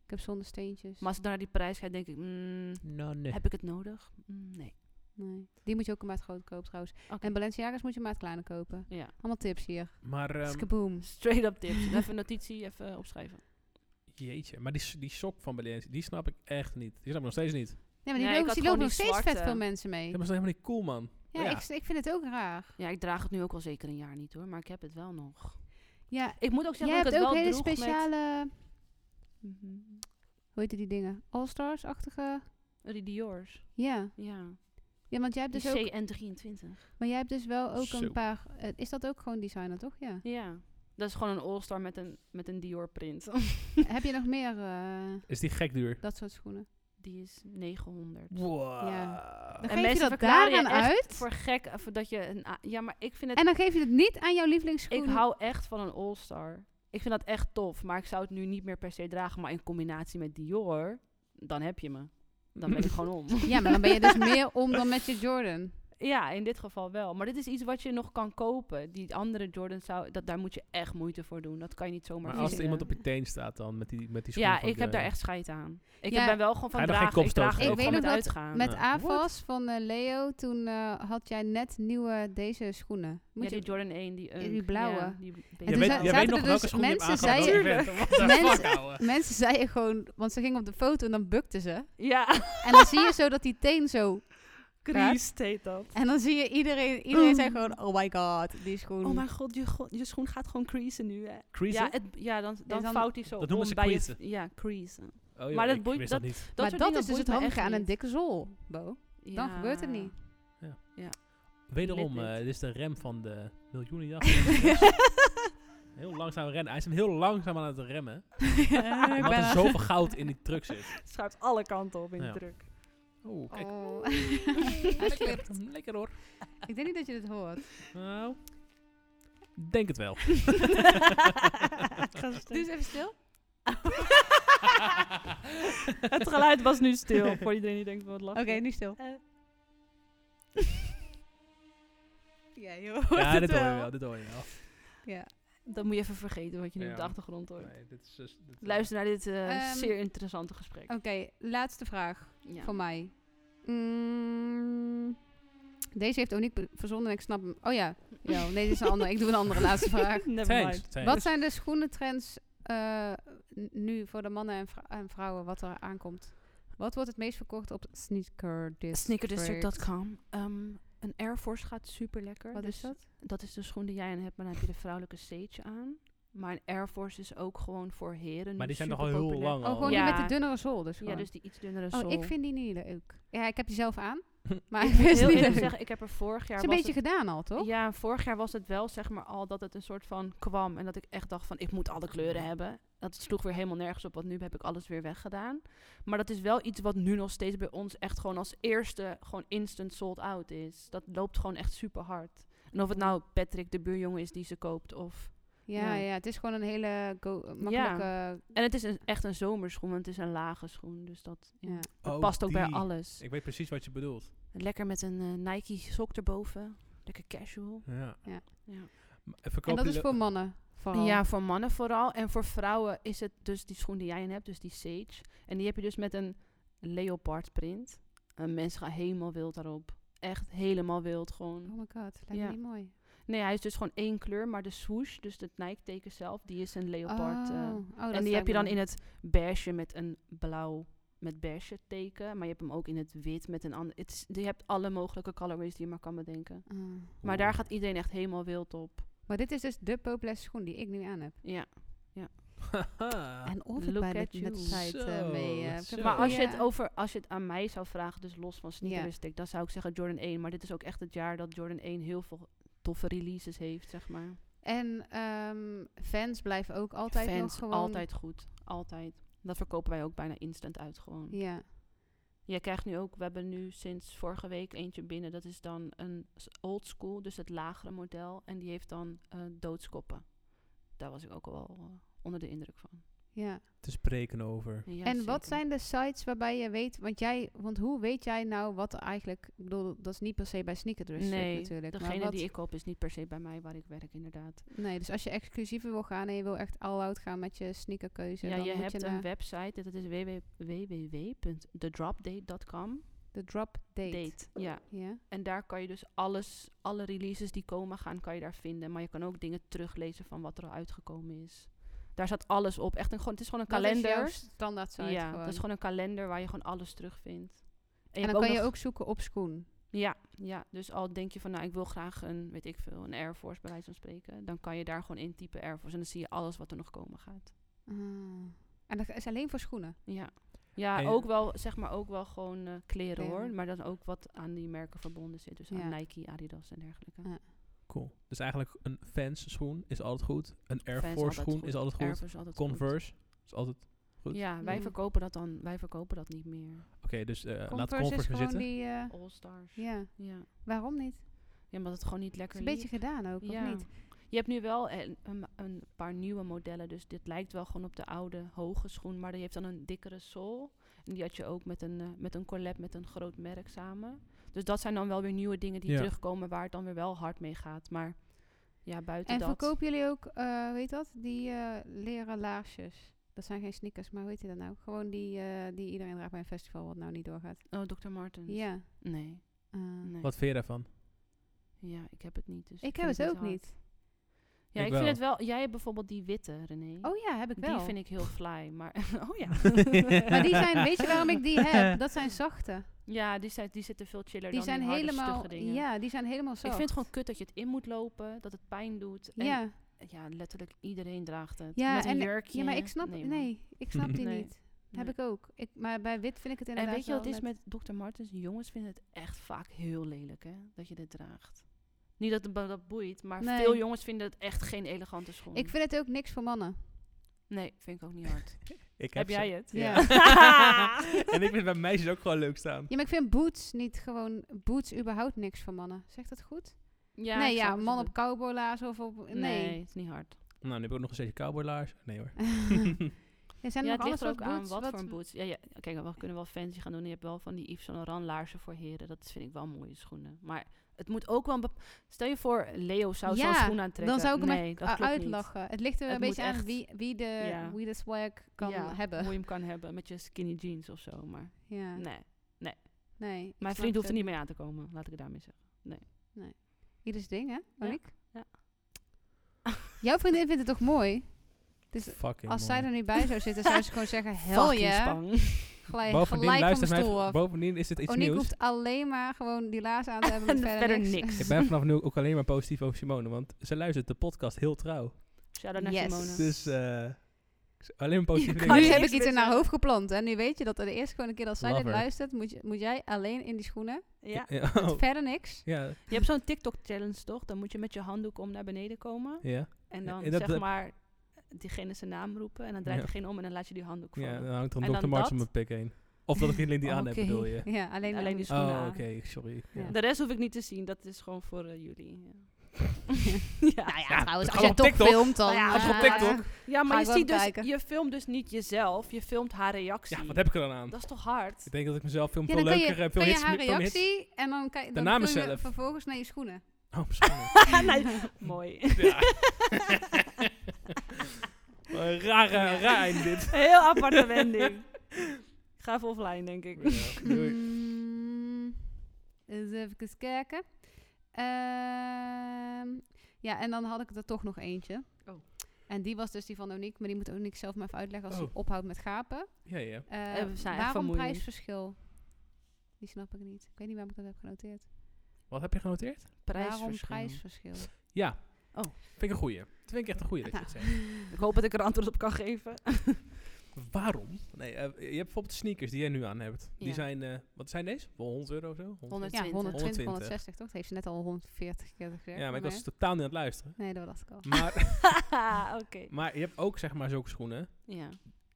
Speaker 3: ik heb zonder steentjes.
Speaker 4: Maar als ik dan naar die prijs ga, denk ik... mm,
Speaker 2: Nou, nee.
Speaker 4: Heb ik het nodig? Mm, nee.
Speaker 3: Nee. Die moet je ook een maat groot kopen trouwens.
Speaker 4: Oké.
Speaker 3: En Balenciaga's moet je een maat kleiner kopen.
Speaker 4: Ja.
Speaker 3: Allemaal tips hier.
Speaker 2: Maar, ehm,
Speaker 3: Skaboom.
Speaker 4: Straight up tips. even een notitie, even opschrijven.
Speaker 2: jeetje. Maar die, s- die sok van Balenciaga, die snap ik echt niet. Die snap ik nog steeds niet.
Speaker 3: Nee, maar die
Speaker 4: Nee, ik
Speaker 3: lopen,
Speaker 4: had
Speaker 3: die
Speaker 4: gewoon
Speaker 3: lopen nog
Speaker 4: die
Speaker 3: steeds vet
Speaker 4: zwarte.
Speaker 3: veel mensen mee.
Speaker 2: Ja, maar ze zijn helemaal niet cool, man.
Speaker 3: Ja, Ik, ik vind het ook raar.
Speaker 4: Ja, ik draag het nu ook al zeker een jaar niet hoor, maar ik heb het wel nog.
Speaker 3: Ja,
Speaker 4: Ik moet ook
Speaker 3: jij
Speaker 4: zeggen dat
Speaker 3: hebt
Speaker 4: ik het
Speaker 3: ook
Speaker 4: wel
Speaker 3: hele
Speaker 4: droeg met-
Speaker 3: speciale,
Speaker 4: Mhm.
Speaker 3: hoe heet die dingen? All-Stars-achtige?
Speaker 4: Die Dior's.
Speaker 3: Ja.
Speaker 4: Ja.
Speaker 3: ja, want jij hebt
Speaker 4: Die
Speaker 3: dus ook,
Speaker 4: CN23.
Speaker 3: maar jij hebt dus wel ook
Speaker 2: Zo.
Speaker 3: een paar, eh, is dat ook gewoon designer toch? Ja.
Speaker 4: Ja. Dat is gewoon een All-Star met een, met een Dior print.
Speaker 3: Heb je nog meer eh,
Speaker 2: Is die gek duur?
Speaker 3: dat soort schoenen?
Speaker 4: Die is 900.
Speaker 2: Wow.
Speaker 3: Ja. Dan
Speaker 4: En
Speaker 3: geef je
Speaker 4: mensen
Speaker 3: dat
Speaker 4: verklaren je
Speaker 3: daaraan
Speaker 4: echt
Speaker 3: uit
Speaker 4: Voor gek, eh, voor dat je een... a- Ja, maar ik vind het...
Speaker 3: en dan geef je het niet aan jouw lievelingsschoen.
Speaker 4: Ik hou echt van een All-Star. Ik vind dat echt tof, maar ik zou het nu niet meer per se dragen. Maar in combinatie met Dior, dan heb je me. Dan ben ik gewoon om.
Speaker 3: dus Ja, maar dan ben je dus meer om dan met je Jordan.
Speaker 4: Ja, in dit geval wel. Maar dit is iets wat je nog kan kopen. Die andere Jordan zou... Dat, daar moet je echt moeite voor doen. Dat kan je niet zomaar
Speaker 2: Maar als er
Speaker 4: vinden.
Speaker 2: iemand op je teen staat dan met die, met die schoenen
Speaker 4: Ja,
Speaker 2: van
Speaker 4: ik heb daar
Speaker 2: Guerra.
Speaker 4: echt scheid aan. Ik
Speaker 3: Ja.
Speaker 4: ben wel gewoon
Speaker 2: Ga
Speaker 4: van
Speaker 2: je dan geen
Speaker 4: dragen. Ik
Speaker 2: kopstoot
Speaker 4: draag er
Speaker 2: geven?
Speaker 4: ook
Speaker 2: Ik
Speaker 4: gewoon
Speaker 3: weet
Speaker 4: met
Speaker 3: nog dat
Speaker 4: uitgaan.
Speaker 3: Met
Speaker 2: Ja.
Speaker 3: AVAS van eh, Leo, toen eh, had jij net nieuwe deze schoenen.
Speaker 4: Ja,
Speaker 3: Moet je
Speaker 4: die Jordan 1, die
Speaker 3: die
Speaker 4: Unk.
Speaker 3: blauwe.
Speaker 4: Ja, die
Speaker 3: En
Speaker 2: Jij
Speaker 4: baby-
Speaker 3: toen
Speaker 2: weet,
Speaker 3: za-
Speaker 2: jij
Speaker 3: zaten
Speaker 2: weet nog
Speaker 3: er
Speaker 2: welke
Speaker 3: dus
Speaker 2: schoenen je hebt
Speaker 3: mensen
Speaker 2: aangehad
Speaker 3: zeiden-
Speaker 2: dat je bent. What the
Speaker 3: Mensen-
Speaker 2: fuck, ouwe?
Speaker 3: Mensen zeiden gewoon, want ze gingen op de foto en dan bukten ze.
Speaker 4: Ja,
Speaker 3: En dan zie je zo dat die teen zo...
Speaker 1: Kriest heet dat.
Speaker 3: En dan zie je iedereen, iedereen
Speaker 4: Mm.
Speaker 3: zei gewoon, oh my god, die schoen.
Speaker 4: oh mijn god, je, go- je schoen gaat gewoon creasen nu, hè?
Speaker 2: Creasen?
Speaker 4: Ja, het, ja dan, dan,
Speaker 3: dan-
Speaker 4: fout hij zo
Speaker 2: Dat noemen
Speaker 4: om
Speaker 2: ze
Speaker 4: bij je-
Speaker 2: creasen.
Speaker 4: Ja, creasen.
Speaker 2: Oh, joh,
Speaker 4: maar dat
Speaker 2: ik
Speaker 4: boeit-
Speaker 2: wist niet.
Speaker 3: maar
Speaker 4: soort
Speaker 3: dat
Speaker 4: dingen
Speaker 3: is dus het
Speaker 4: boeit me echt
Speaker 3: handige aan een
Speaker 4: niet.
Speaker 3: dikke zool, Bo. dan
Speaker 4: Ja.
Speaker 3: gebeurt het niet.
Speaker 2: Wederom,
Speaker 4: Lid
Speaker 2: eh,
Speaker 4: niet.
Speaker 2: dit is de rem van de miljoenenjacht. heel langzaam rennen. Hij is hem heel langzaam aan het remmen.
Speaker 3: Ja, ik
Speaker 2: Omdat
Speaker 3: ben
Speaker 2: er
Speaker 3: al-
Speaker 2: zoveel goud in die truck zit.
Speaker 1: Het schuift alle kanten op in
Speaker 2: Ja.
Speaker 1: de druk.
Speaker 2: Oeh, kijk.
Speaker 3: Oh. Hij
Speaker 2: lekker,
Speaker 3: slipt.
Speaker 2: lekker hoor.
Speaker 3: Ik denk niet dat je dit hoort.
Speaker 2: Nou, denk het wel.
Speaker 1: Krastig.
Speaker 3: Doe eens Dus even stil.
Speaker 1: het geluid was nu stil, voor iedereen die denkt, wat
Speaker 3: Oké,
Speaker 1: lachen.
Speaker 3: nu stil.
Speaker 1: Eh.
Speaker 3: ja, je hoort
Speaker 2: ja,
Speaker 3: het
Speaker 2: dit hoor
Speaker 3: wel.
Speaker 2: je wel. Dit hoor je wel.
Speaker 3: Ja.
Speaker 4: Dan moet je even vergeten wat je nu
Speaker 2: Ja.
Speaker 4: op de achtergrond hoort.
Speaker 2: Nee, dit is dus- dit-
Speaker 4: Luister naar dit eh,
Speaker 3: Ehm,
Speaker 4: zeer interessante gesprek.
Speaker 3: Oké, laatste vraag
Speaker 4: Ja.
Speaker 3: van mij. Mm, deze heeft Oniek be- verzonnen en ik snap hem. Oh ja, ja nee, dit is een andere. Ik doe een andere laatste vraag.
Speaker 1: Never
Speaker 2: Thanks,
Speaker 1: mind.
Speaker 2: thanks.
Speaker 3: Wat zijn de schoenentrends eh, n- nu voor de mannen en, vrou- en vrouwen wat er aankomt? Wat wordt het meest verkocht op Sneaker District?
Speaker 4: Sneakerdistrict.com. Ehm, een Air Force gaat super lekker. dus
Speaker 3: Wat is dat?
Speaker 4: Dat is de schoen die jij aan hebt, maar dan heb je de vrouwelijke stage aan. Maar een Air Force is ook gewoon voor heren.
Speaker 2: Maar
Speaker 4: nu
Speaker 2: die zijn nogal heel
Speaker 4: superpopulair.
Speaker 2: lang
Speaker 3: Oh,
Speaker 2: al.
Speaker 3: gewoon
Speaker 4: Ja.
Speaker 3: die met de dunnere zool dus
Speaker 4: Ja,
Speaker 3: gewoon.
Speaker 4: dus die iets dunnere
Speaker 3: oh,
Speaker 4: zool.
Speaker 3: ik vind die niet leuk. Ja, ik heb die zelf aan. Maar ik
Speaker 4: Ik moet
Speaker 3: vind ze
Speaker 4: heel
Speaker 3: niet
Speaker 4: eerlijk
Speaker 3: leuk.
Speaker 4: zeggen, ik heb er vorig jaar...
Speaker 3: Het is een
Speaker 4: was
Speaker 3: beetje gedaan al, toch?
Speaker 4: het, ja, vorig jaar was het wel zeg maar al dat het een soort van kwam. En dat ik echt dacht van, ik moet alle
Speaker 3: Mhm.
Speaker 4: kleuren hebben. Dat sloeg weer helemaal nergens op, want nu heb ik alles weer weggedaan. Maar dat is wel iets wat nu nog steeds bij ons echt gewoon als eerste... gewoon instant sold out is. Dat loopt gewoon echt super hard. En of het nou Patrick, de buurjongen, is die ze koopt of...
Speaker 3: Ja, ja.
Speaker 4: Ja.
Speaker 3: het is gewoon een hele go- makkelijke...
Speaker 4: En het is een, echt een zomerschoen, want het is een lage schoen. Dus dat ja,
Speaker 3: Ja.
Speaker 4: dat
Speaker 2: Oh,
Speaker 4: past ook bij
Speaker 2: die.
Speaker 4: alles.
Speaker 2: Ik weet precies wat je bedoelt.
Speaker 4: Lekker met een eh, Nike sok erboven. Lekker casual.
Speaker 2: Ja.
Speaker 3: Ja.
Speaker 4: Ja.
Speaker 2: M- en
Speaker 3: En
Speaker 2: verkoop
Speaker 3: dat
Speaker 2: je
Speaker 3: is
Speaker 2: de-
Speaker 3: voor mannen vooral.
Speaker 4: Ja, voor mannen vooral. En voor vrouwen is het dus die schoen die jij in hebt, dus die Sage. En die heb je dus met een leopard print. En mensen gaan helemaal wild daarop. Echt helemaal wild gewoon.
Speaker 3: Oh my god, lijkt me
Speaker 4: Ja.
Speaker 3: niet mooi.
Speaker 4: Nee, hij is dus gewoon één kleur, maar de swoosh, dus het Nike-teken zelf, die is een leopard. eh,
Speaker 3: Oh, oh, dat
Speaker 4: en die
Speaker 3: lijkt
Speaker 4: heb je
Speaker 3: me
Speaker 4: dan
Speaker 3: mooi.
Speaker 4: in het beige met een blauw met beige teken. Maar je hebt hem ook in het wit met een ander. het is- Je hebt alle mogelijke colorways die je maar kan bedenken.
Speaker 3: Ah.
Speaker 4: Maar daar gaat iedereen echt helemaal wild op.
Speaker 3: Maar dit is dus de populairste schoen die ik nu aan heb.
Speaker 4: Ja.
Speaker 3: En of
Speaker 4: Look
Speaker 3: het bij
Speaker 4: at
Speaker 3: de
Speaker 4: you.
Speaker 3: website eh,
Speaker 2: Zo,
Speaker 3: mee... eh,
Speaker 2: zo.
Speaker 3: heb ik
Speaker 4: Maar
Speaker 3: ook-
Speaker 4: als je,
Speaker 3: Ja.
Speaker 4: het over, als je het aan mij zou vragen, dus los van
Speaker 3: Ja.
Speaker 4: sneakers, dan zou ik zeggen Jordan 1. Maar dit is ook echt het jaar dat Jordan 1 heel veel toffe releases heeft, zeg maar.
Speaker 3: En ehm, fans blijven ook altijd
Speaker 4: Fans,
Speaker 3: nog gewoon...
Speaker 4: altijd goed. Altijd. Dat verkopen wij ook bijna instant uit gewoon.
Speaker 3: Ja.
Speaker 4: Jij krijgt nu ook, we hebben nu sinds vorige week eentje binnen. Dat is dan een s- old school, dus het lagere model. En die heeft dan eh, doodskoppen. Daar was ik ook wel eh, onder de indruk van.
Speaker 3: ja.
Speaker 2: Te spreken over.
Speaker 4: Ja,
Speaker 3: en wat
Speaker 4: zeker.
Speaker 3: zijn de sites waarbij je weet... Want, jij, want hoe weet jij nou wat er eigenlijk... Ik bedoel, dat is niet per se bij Sneaker District
Speaker 4: Nee,
Speaker 3: natuurlijk. maar
Speaker 4: degene
Speaker 3: wat-
Speaker 4: die ik koop is niet per se bij mij waar ik werk, inderdaad.
Speaker 3: Nee, dus als je exclusiever wil gaan en je wil echt all-out gaan met je sneakerkeuze...
Speaker 4: ja,
Speaker 3: dan
Speaker 4: je
Speaker 3: moet
Speaker 4: hebt
Speaker 3: je
Speaker 4: een
Speaker 3: naar
Speaker 4: website, dat is www- www.thedropdate.com.
Speaker 3: de drop date.
Speaker 4: Date, ja.
Speaker 3: Ja.
Speaker 4: En daar kan je dus alles, alle releases die komen gaan, kan je daar vinden. Maar je kan ook dingen teruglezen van wat er al uitgekomen is. Daar staat alles op. Echt een, gewoon, het is gewoon een
Speaker 3: Dat
Speaker 4: kalender.
Speaker 3: is jouw standaard site
Speaker 4: ja,
Speaker 3: gewoon.
Speaker 4: dat is gewoon een kalender waar je gewoon alles terugvindt.
Speaker 3: en
Speaker 4: je
Speaker 3: dan
Speaker 4: hebt
Speaker 3: kan je
Speaker 4: nog-
Speaker 3: ook zoeken op schoen.
Speaker 4: Ja, ja, dus al denk je van, nou, ik wil graag een, weet ik veel, een Air Force bij wijze van spreken. Dan kan je daar gewoon intypen Air Force en dan zie je alles wat er nog komen gaat.
Speaker 3: Ah. En dat is alleen voor schoenen.
Speaker 4: Ja, ja
Speaker 2: En-
Speaker 4: ook wel, zeg maar, ook wel gewoon eh, kleren hoor.
Speaker 3: Kleren.
Speaker 4: Maar dan ook wat aan die merken verbonden zit. Dus
Speaker 3: Ja.
Speaker 4: aan Nike, Adidas en dergelijke.
Speaker 3: Ja.
Speaker 2: Cool. Dus eigenlijk een fans schoen is altijd goed. Een Air
Speaker 4: Fans
Speaker 2: Force
Speaker 4: altijd
Speaker 2: schoen
Speaker 4: goed.
Speaker 2: is altijd
Speaker 4: Air
Speaker 2: goed.
Speaker 4: Force is altijd goed.
Speaker 2: Converse is altijd... goed.
Speaker 4: Ja, wij
Speaker 3: Ja.
Speaker 4: verkopen dat dan, wij verkopen dat niet meer.
Speaker 2: Oké, dus eh, laat
Speaker 3: Converse is
Speaker 2: Converse maar
Speaker 3: gewoon
Speaker 2: zitten.
Speaker 3: die... eh,
Speaker 4: All Stars. Ja,
Speaker 3: ja,
Speaker 4: ja.
Speaker 3: waarom niet?
Speaker 4: omdat het gewoon niet
Speaker 3: Het is
Speaker 4: lekker
Speaker 3: een beetje gedaan ook,
Speaker 4: Ja.
Speaker 3: of niet?
Speaker 4: Je hebt nu wel eh, een, een paar nieuwe modellen, dus dit lijkt wel gewoon op de oude hoge schoen, maar die heeft dan een dikkere sol. En En die had je ook met een, eh, met een collab met een groot merk samen. Dus dat zijn dan wel weer nieuwe dingen die
Speaker 2: Ja.
Speaker 4: terugkomen waar het dan weer wel hard mee gaat. Maar ja, buiten
Speaker 3: En
Speaker 4: dat...
Speaker 3: verkopen jullie ook, eh weet dat, die eh, leren laarsjes? Dat zijn geen sneakers, maar hoe heet je dat nou? Gewoon die, eh, die iedereen draagt bij een festival, wat nou niet doorgaat.
Speaker 4: Oh, Dr. Martens.
Speaker 3: Ja.
Speaker 4: Nee,
Speaker 3: eh,
Speaker 4: nee.
Speaker 2: Wat vind je daarvan?
Speaker 4: Ja, ik heb het niet. Dus
Speaker 3: Ik heb
Speaker 4: vind
Speaker 3: het ook
Speaker 4: hard.
Speaker 3: niet.
Speaker 4: Ja,
Speaker 2: Ik
Speaker 4: ik, vind
Speaker 2: wel.
Speaker 4: het wel... Jij hebt bijvoorbeeld die witte, René.
Speaker 3: Oh ja, heb ik wel.
Speaker 4: Die vind ik heel fly, maar... oh ja.
Speaker 3: Maar die zijn, weet je waarom ik die heb? Dat zijn zachte.
Speaker 4: Ja, die, zijn, die zitten veel chiller
Speaker 3: Die
Speaker 4: dan
Speaker 3: zijn
Speaker 4: die harde,
Speaker 3: helemaal,
Speaker 4: stugge dingen.
Speaker 3: ja, die zijn helemaal zacht.
Speaker 4: Ik vind het gewoon kut dat je het in moet lopen, dat het pijn doet. En
Speaker 3: Ja,
Speaker 4: ja, letterlijk iedereen draagt het.
Speaker 3: ja,
Speaker 4: Met een
Speaker 3: en,
Speaker 4: jurkje.
Speaker 3: ja, maar ik snap, nee,
Speaker 4: man.
Speaker 3: ik snap die
Speaker 4: Nee,
Speaker 3: niet. Heb
Speaker 4: nee.
Speaker 3: ik ook. Ik, maar bij wit vind ik het
Speaker 4: En
Speaker 3: inderdaad
Speaker 4: weet je wat
Speaker 3: wel
Speaker 4: het is met Dr. Martens? Jongens vinden het echt vaak heel lelijk, hè? Dat je dit draagt. Niet dat het bo- dat boeit, maar
Speaker 3: Nee.
Speaker 4: veel jongens vinden het echt geen elegante schoen.
Speaker 3: Ik vind het ook niks voor mannen.
Speaker 4: nee, vind ik ook niet hard.
Speaker 2: Ik
Speaker 4: Heb
Speaker 2: ze.
Speaker 4: jij het?
Speaker 3: Ja.
Speaker 2: en ik vind bij meisjes ook gewoon leuk staan.
Speaker 3: Ja, maar ik vind boots niet gewoon... Boots überhaupt niks voor mannen. Zegt dat goed?
Speaker 4: Ja,
Speaker 3: nee,
Speaker 4: ik
Speaker 3: ja,
Speaker 4: snap wat
Speaker 3: man
Speaker 4: je
Speaker 3: op
Speaker 4: bedoelt.
Speaker 3: cowboylaars of op... Nee.
Speaker 4: Nee, het is niet hard.
Speaker 2: Nou, nu heb ik ook nog een setje cowboylaars. Nee hoor.
Speaker 3: Er zijn
Speaker 4: ja,
Speaker 3: nog
Speaker 4: het ligt
Speaker 3: alles
Speaker 4: er ook
Speaker 3: ook
Speaker 4: aan
Speaker 3: boots.
Speaker 4: wat, voor een boots. Ja, ja, kijk, we kunnen wel fancy gaan doen. Je hebt wel van die Yves Saint Laurent laarzen voor heren. Dat vind ik wel mooie schoenen. Maar het moet ook wel... een bep- Stel je voor, Leo zou
Speaker 3: Ja,
Speaker 4: zo'n schoen aantrekken.
Speaker 3: Dan zou ik hem
Speaker 4: nee,
Speaker 3: echt
Speaker 4: dat
Speaker 3: a-
Speaker 4: klopt niet.
Speaker 3: uitlachen. Het ligt er
Speaker 4: Het
Speaker 3: een beetje
Speaker 4: moet
Speaker 3: aan
Speaker 4: echt-
Speaker 3: wie, wie, de,
Speaker 4: Ja.
Speaker 3: wie de swag kan
Speaker 4: Ja,
Speaker 3: hebben.
Speaker 4: Hoe je hem kan hebben met je skinny jeans of zo. Maar
Speaker 3: Ja.
Speaker 4: nee,
Speaker 3: Nee, ik
Speaker 4: mijn
Speaker 3: snap
Speaker 4: vriend hoeft er
Speaker 3: het.
Speaker 4: niet mee aan te komen. Laat ik het daarmee zeggen.
Speaker 3: Ieders ding, hè? Monique?
Speaker 4: ja.
Speaker 3: Jouw vriendin vindt het toch mooi? Dus
Speaker 2: Fucking
Speaker 3: als zij
Speaker 2: mooi.
Speaker 3: er niet bij zou zitten, zou ze gewoon zeggen... Hel je,
Speaker 4: Fucking
Speaker 3: glij-
Speaker 4: spang.
Speaker 3: gelijk,
Speaker 2: Bovendien,
Speaker 3: van de
Speaker 2: luister
Speaker 3: stoel
Speaker 2: mij,
Speaker 3: af.
Speaker 2: bovendien is dit iets
Speaker 3: Oniek
Speaker 2: nieuws.
Speaker 3: hoeft alleen maar gewoon die laars aan te hebben.
Speaker 4: En
Speaker 3: en
Speaker 4: verder niks.
Speaker 2: Ik ben vanaf nu ook alleen maar positief over Simone, want ze luistert de podcast heel trouw.
Speaker 4: Shout-out naar
Speaker 3: Yes.
Speaker 4: Simone.
Speaker 2: Dus eh, ik z- alleen maar positieve
Speaker 4: Je
Speaker 2: dingen.
Speaker 4: kan
Speaker 3: Nu
Speaker 4: niks
Speaker 3: heb ik iets in haar
Speaker 4: missen.
Speaker 3: hoofd geplant. En nu weet je dat de eerste gewoon een keer als zij dit
Speaker 2: Lover.
Speaker 3: luistert, moet, je, moet jij alleen in die schoenen.
Speaker 4: Ja.
Speaker 2: Ja,
Speaker 3: met
Speaker 2: oh,
Speaker 3: Verder niks.
Speaker 2: ja,
Speaker 4: Je hebt zo'n TikTok-challenge, toch? Dan moet je met je handdoek om naar beneden komen.
Speaker 2: ja,
Speaker 4: En
Speaker 2: Ja,
Speaker 4: dan
Speaker 2: en dat-
Speaker 4: zeg maar diegene zijn naam roepen. En dan draait
Speaker 2: Ja.
Speaker 4: diegene om en dan laat je die handdoek vallen.
Speaker 2: ja, dan hangt er
Speaker 4: En
Speaker 2: een
Speaker 4: dan
Speaker 2: Dr. Martens
Speaker 4: dat?
Speaker 2: om mijn pik heen. Of dat ik die link die aan heb,
Speaker 3: Oh, Oké.
Speaker 2: bedoel je?
Speaker 3: Ja, alleen,
Speaker 4: Alleen die
Speaker 3: die
Speaker 4: schoenen
Speaker 2: Oh,
Speaker 4: aan.
Speaker 2: oké, sorry. Ja.
Speaker 3: Ja.
Speaker 4: De rest hoef ik niet te zien, dat is gewoon voor eh, jullie. Ja. ja.
Speaker 3: Nou ja,
Speaker 2: Ja,
Speaker 3: trouwens,
Speaker 2: dat
Speaker 3: als
Speaker 2: kan
Speaker 3: je
Speaker 2: op
Speaker 3: toch
Speaker 2: TikTok.
Speaker 3: filmt dan...
Speaker 4: Nou ja, als je op
Speaker 3: eh,
Speaker 2: TikTok.
Speaker 4: Ja,
Speaker 3: Ga
Speaker 4: maar je,
Speaker 3: ik wel
Speaker 4: ziet dus,
Speaker 3: kijken.
Speaker 4: je filmt dus niet jezelf, je filmt haar reactie.
Speaker 2: Ja, wat heb ik er dan aan?
Speaker 4: Dat is toch hard?
Speaker 2: Ik denk dat ik mezelf veel,
Speaker 3: Ja,
Speaker 2: veel
Speaker 3: dan kan je,
Speaker 2: leuker heb. Veel
Speaker 3: kan je
Speaker 2: hits-
Speaker 3: haar
Speaker 2: veel hits-
Speaker 3: reactie en dan, kijk, dan
Speaker 2: naam
Speaker 3: film je
Speaker 2: mezelf.
Speaker 3: vervolgens naar je schoenen.
Speaker 2: Oh, misschien.
Speaker 4: Nee, mooi.
Speaker 2: ja. Wat een rare, raar einde dit.
Speaker 4: Heel aparte wending. Ik ga even offline, denk ik.
Speaker 2: Ja, doei.
Speaker 3: Mm, eens even kijken. Ehm, ja, en dan had ik er toch nog eentje.
Speaker 4: Oh.
Speaker 3: En die was dus die van Oniek, maar die moet Oniek zelf maar even uitleggen als hij
Speaker 2: Oh.
Speaker 3: ophoudt met gapen.
Speaker 2: Ja, ja.
Speaker 3: Eh,
Speaker 4: Eh, we zijn echt
Speaker 3: waarom
Speaker 4: vermoeiend.
Speaker 3: prijsverschil? Die snap ik niet. Ik weet niet waarom ik dat heb genoteerd.
Speaker 2: Wat heb je genoteerd?
Speaker 3: Waarom
Speaker 4: Prijsverschil.
Speaker 3: prijsverschil?
Speaker 2: Ja.
Speaker 4: Oh.
Speaker 2: Vind ik een goeie. Dat vind ik echt een goeie dat je
Speaker 3: Nou.
Speaker 2: het zegt.
Speaker 4: Ik hoop dat ik er antwoord op kan geven.
Speaker 2: Waarom? Nee, eh, je hebt bijvoorbeeld sneakers die jij nu aan hebt. Die
Speaker 4: Ja.
Speaker 2: zijn, eh, wat zijn deze? Wel 100 euro of zo? 100?
Speaker 4: 120.
Speaker 3: Ja, 120,
Speaker 2: 120.
Speaker 3: 160 toch? Dat heeft ze net al 140 keer gezegd.
Speaker 2: Ja, maar ik
Speaker 3: nee.
Speaker 2: was Eh, totaal niet aan het luisteren.
Speaker 3: Nee, dat was ik al.
Speaker 2: Maar,
Speaker 4: Oké.
Speaker 2: maar je hebt ook zeg maar zulke schoenen.
Speaker 4: Ja.